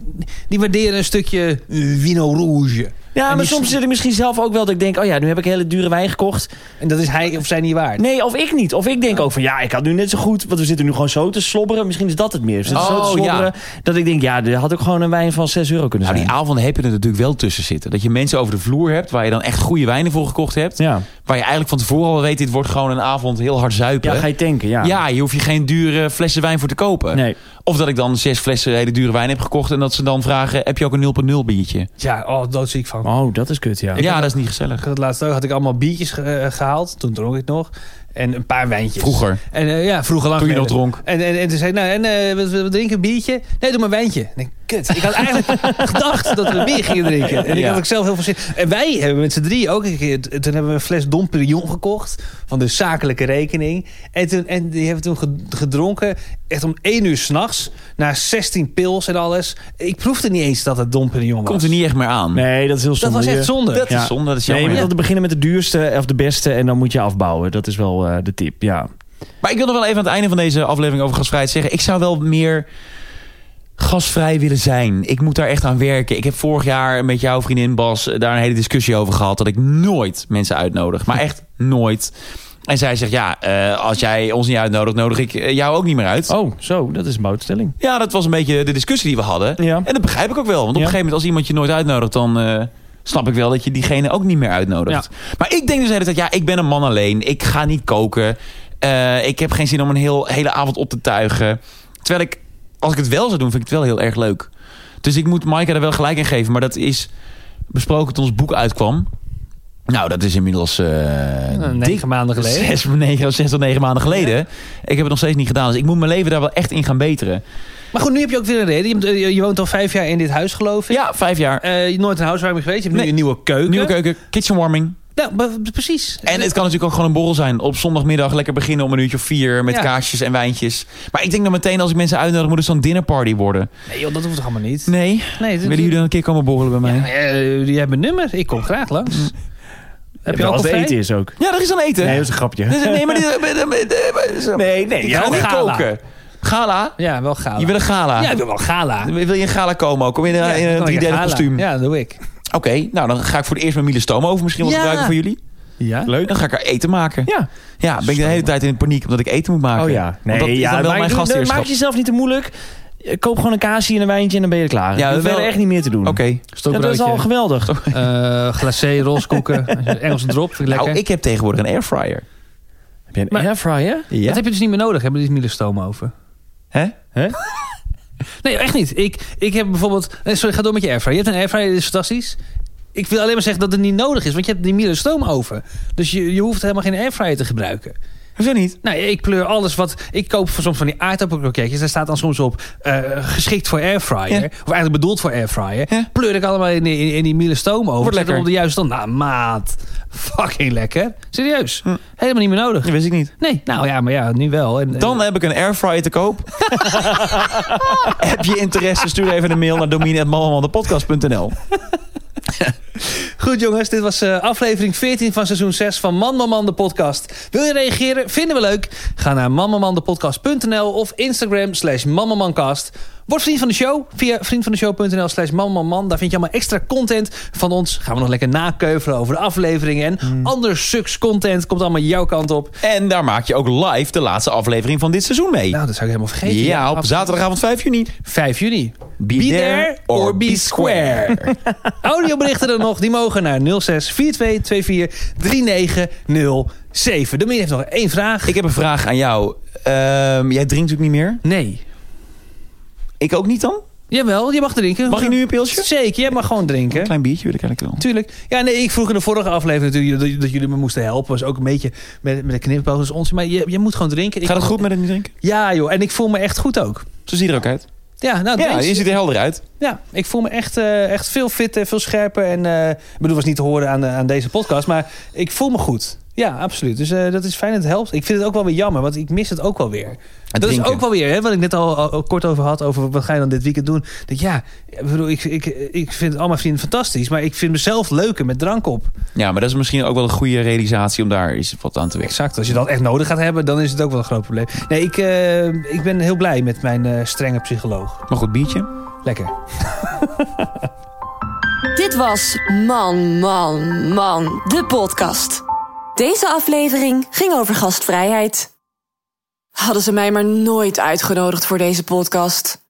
S1: die waarderen een stukje Vino Rouge.
S3: Ja,
S1: En
S3: maar
S1: die-
S3: soms zit ik misschien zelf ook wel dat ik denk... oh ja, nu heb ik hele dure wijn gekocht.
S1: En dat is hij of zij niet waard.
S3: Nee, of ik niet. Of ik denk ook van ja, ik had nu net zo goed... want we zitten nu gewoon zo te slobberen. Misschien is dat het meer. We zitten zo te
S2: Oh, ja.
S3: slobberen dat ik denk... ja, er had ook gewoon een wijn van 6 euro kunnen
S2: Nou,
S3: zijn.
S2: die avonden heb je er natuurlijk wel tussen zitten. Dat je mensen over de vloer hebt waar je dan echt goede wijnen voor gekocht hebt.
S3: ja.
S2: Waar je eigenlijk van tevoren al weet, dit wordt gewoon een avond heel hard zuipen.
S3: ja, ga je tanken, ja.
S2: Ja, hier hoef je geen dure flessen wijn voor te kopen.
S3: Nee.
S2: Of dat ik dan zes flessen hele dure wijn heb gekocht... en dat ze dan vragen, heb je ook een 0.0 biertje?
S1: Ja, oh, doodziek van.
S3: Oh, dat is kut, ja.
S2: Ja, dat is niet gezellig.
S1: Dat laatste ook had ik allemaal biertjes ge- eh, gehaald. Toen dronk ik nog. En een paar wijntjes.
S2: Vroeger,
S1: En, eh, ja, vroeger lang
S2: toen je nog
S1: geleden.
S2: dronk.
S1: En, en, en toen zei ik, nou, en, eh, we, we- we drinken een biertje. Nee, doe maar een wijntje. En ik, kut, ik had eigenlijk *laughs* gedacht dat we bier gingen drinken. En ik
S2: Ja.
S1: had ook zelf heel veel zin. En wij hebben met z'n drie ook een keer... t- Toen hebben we een fles Dom Perignon gekocht. Van de zakelijke rekening. En, toen, en die hebben we toen ge- gedronken. Echt om één uur s'nachts. Na 16 pils en alles. Ik proefde niet eens dat het Dom Perignon was.
S2: Komt er niet echt meer aan.
S3: Nee, dat is heel
S1: dat
S3: zonde.
S1: was
S3: Je-
S1: echt zonde.
S2: Dat
S3: Ja.
S2: is zonde, dat is
S3: Nee,
S2: jammer.
S3: je moet altijd beginnen met de duurste of de beste... en dan moet je afbouwen. Dat is wel eh, de tip, ja.
S2: Maar ik wil nog wel even aan het einde van deze aflevering over gasvrijheid zeggen. Ik zou wel meer gasvrij willen zijn. Ik moet daar echt aan werken. Ik heb vorig jaar met jouw vriendin Bas eh, daar een hele discussie over gehad. Dat ik nooit mensen uitnodig. Maar echt nooit. En zij zegt, ja, eh, als jij ons niet uitnodigt, nodig ik eh, jou ook niet meer uit.
S3: Oh, zo, dat is een boutstelling.
S2: Ja, dat was een beetje de discussie die we hadden.
S3: Ja.
S2: En dat begrijp ik ook wel. Want op een
S3: Ja.
S2: gegeven moment, als iemand je nooit uitnodigt, dan eh, snap ik wel dat je diegene ook niet meer uitnodigt. Maar ik denk dus de hele tijd, ja, ik ben een man alleen. Ik ga niet koken. Eh, ik heb geen zin om een heel, hele avond op te tuigen. Terwijl ik, als ik het wel zou doen, vind ik het wel heel erg leuk. Dus ik moet Maaike er wel gelijk in geven. Maar dat is besproken toen ons boek uitkwam. Nou, dat is inmiddels eh,
S1: Nou,
S2: dik
S1: Negen maanden geleden.
S2: Zes, *laughs* negen, zes tot negen maanden geleden. Ik heb het nog steeds niet gedaan. Dus ik moet mijn leven daar wel echt in gaan beteren.
S1: Maar goed, nu heb je ook weer een reden. Je, hebt- eh, je woont al vijf jaar in dit huis, geloof ik.
S2: Ja, vijf jaar.
S1: Eh, je nooit een housewarming geweest. Je hebt
S2: Nee.
S1: nu een nieuwe keuken.
S2: Nieuwe keuken, kitchen warming.
S1: Nou, be- precies.
S2: En het kan natuurlijk ook gewoon een borrel zijn. Op zondagmiddag lekker beginnen om een uurtje of vier met
S1: Ja.
S2: kaarsjes en wijntjes. Maar ik denk dan meteen als ik mensen uitnodig moet het zo'n dinnerparty worden.
S1: Nee, joh, dat hoeft toch allemaal niet?
S2: Nee,
S1: Nee, dat-
S2: willen jullie dan Mm. een keer komen borrelen bij mij? Ja,
S1: Eh, Jij hebt mijn nummer. Ik kom graag langs. Heb je
S3: Ja,
S1: al
S3: als het
S1: vrij?
S3: eten is ook.
S2: er is dan eten.
S3: Nee,
S2: Nee,
S3: dat is een
S2: *laughs*
S3: grapje.
S2: nee maar... dit- maar- maar- maar- maar-
S3: Nee, nee.
S2: Ik
S3: ja,
S2: ga
S1: wel
S2: niet
S1: gala.
S2: koken. Gala?
S1: Ja, wel gala.
S2: Je wil een gala?
S1: Ja, ik wil wel gala.
S2: Wil je een gala komen ook? Kom je in
S1: Ja,
S2: een, in
S1: dan
S2: een
S1: kan ik
S2: driedelig
S1: gala.
S2: kostuum?
S1: Ja, dat doe ik.
S2: Oké, nou dan ga ik voor het eerst mijn Miele over misschien wel
S1: Ja.
S2: gebruiken voor jullie.
S1: Ja?
S2: Dan ga ik er eten maken. Ja,
S3: Ja.
S2: ben ik de hele tijd in paniek omdat ik eten moet maken.
S3: Oh ja.
S2: Want dat is dan wel
S3: maak,
S2: mijn
S3: doe-
S2: gastheerschap.
S3: Maak jezelf niet te moeilijk. eh, koop gewoon een kaasje en een wijntje en dan ben je er
S2: Ja,
S3: klaar. Ja, we
S2: wel-
S3: hebben echt niet meer te doen.
S2: Oké.
S3: Ja, dat is al
S2: *laughs*
S3: geweldig.
S1: Eh, glacé, *laughs* roskoeken, Engelse drop. Vind ik lekker.
S2: Nou, ik heb tegenwoordig een airfryer.
S3: Heb je een
S1: Maar-
S3: airfryer?
S2: Ja.
S1: Dat heb je dus niet meer nodig. Hebben die mielestoom over?
S2: Hè?
S3: Hè?
S1: Nee, echt niet. Ik, ik heb bijvoorbeeld... nee, Sorry, ga door met je airfryer. Je hebt een airfryer, die is fantastisch. Ik wil alleen maar zeggen dat het niet nodig is. Want je hebt die mielestoom over. Dus je, je hoeft helemaal geen airfryer te gebruiken.
S2: Hoezo niet?
S1: Nou, ik pleur alles wat... Ik koop soms van die aardappelkroketjes. Daar staat dan soms op eh, geschikt voor airfryer.
S2: Ja.
S1: Of eigenlijk bedoeld voor airfryer.
S2: Ja.
S1: Pleur ik allemaal in, die- in, in die mielestoom over. Zet
S2: Wordt
S1: hem
S2: lekker.
S1: op de juiste stand. Nou, maat. Fucking lekker. Serieus. Helemaal niet meer nodig.
S2: Dat wist ik niet.
S1: Nee, nou ja, maar ja, nu wel. En,
S2: Dan heb ik een airfryer te *laughs* koop. heb je interesse? Stuur even een mail naar domine.malmandepodcast.nl.
S1: Goed jongens, dit was eh, aflevering 14 van seizoen 6 van Man Man Man de podcast. Wil je reageren? Vinden we leuk? Ga naar manmanmandepodcast.nl of Instagram slash manmanmancast. Word vriend van de show via vriendvandeshow.nl slash manmanman. Daar vind je allemaal extra content van ons. Gaan we nog lekker nakeuvelen over de afleveringen. En
S2: Mm.
S1: ander suks content komt allemaal jouw kant op.
S2: En daar maak je ook live de laatste aflevering van dit seizoen mee.
S1: Nou, dat zou ik helemaal vergeten.
S2: ja, op
S1: absoluut.
S2: zaterdagavond 5 juni.
S1: 5 juni.
S2: Be, there or be square.
S1: *laughs* Audioberichten dan nog, die mogen naar 06 42 24 3907. De meneer heeft nog één vraag.
S2: ik heb een vraag aan jou. Ehm, jij drinkt natuurlijk niet meer.
S1: Nee.
S2: Ik ook niet dan?
S1: Jawel, je mag drinken.
S2: Mag ik nu een pilsje?
S1: Zeker, jij mag gewoon
S2: Een
S1: drinken.
S2: klein biertje wil ik eigenlijk wel.
S1: Tuurlijk. Ja, nee, ik vroeg in de vorige aflevering natuurlijk dat- dat jullie me moesten helpen. Was ook een beetje met, met de knipoog, dat is onzin. Maar je, je moet gewoon drinken. Ik-
S2: Gaat het goed met het niet drinken?
S1: Ja, joh. En ik voel me echt goed ook.
S2: Zo zie je er ook uit.
S1: Ja, nou,
S2: Ja,
S1: ja,
S2: je ziet er helder uit.
S1: ja, ik voel me echt, eh, echt veel fitter, veel scherper. En eh, ik bedoel, was niet te horen aan, eh, aan deze podcast, maar ik voel me goed. Ja, absoluut. Dus eh, dat is fijn, het helpt. Ik vind het ook wel weer jammer, want ik mis het ook wel weer. dat is
S2: drinken.
S1: ook wel weer, hè, wat ik net al, al- al kort over had, over wat ga je dan dit weekend doen. Dat ja, ik bedoel, ik, ik, ik vind al mijn vrienden fantastisch, maar ik vind mezelf leuker met drank op.
S2: Ja, maar dat is misschien ook wel een goede realisatie om daar eens wat aan te werken.
S1: Exact, als je dat echt nodig gaat hebben, dan is het ook wel een groot probleem. Nee, ik, eh, ik ben heel blij met mijn eh, strenge psycholoog.
S2: Maar goed, biertje.
S1: Lekker.
S4: Dit was Man, Man, Man, de podcast. Deze aflevering ging over gastvrijheid. Hadden ze mij maar nooit uitgenodigd voor deze podcast.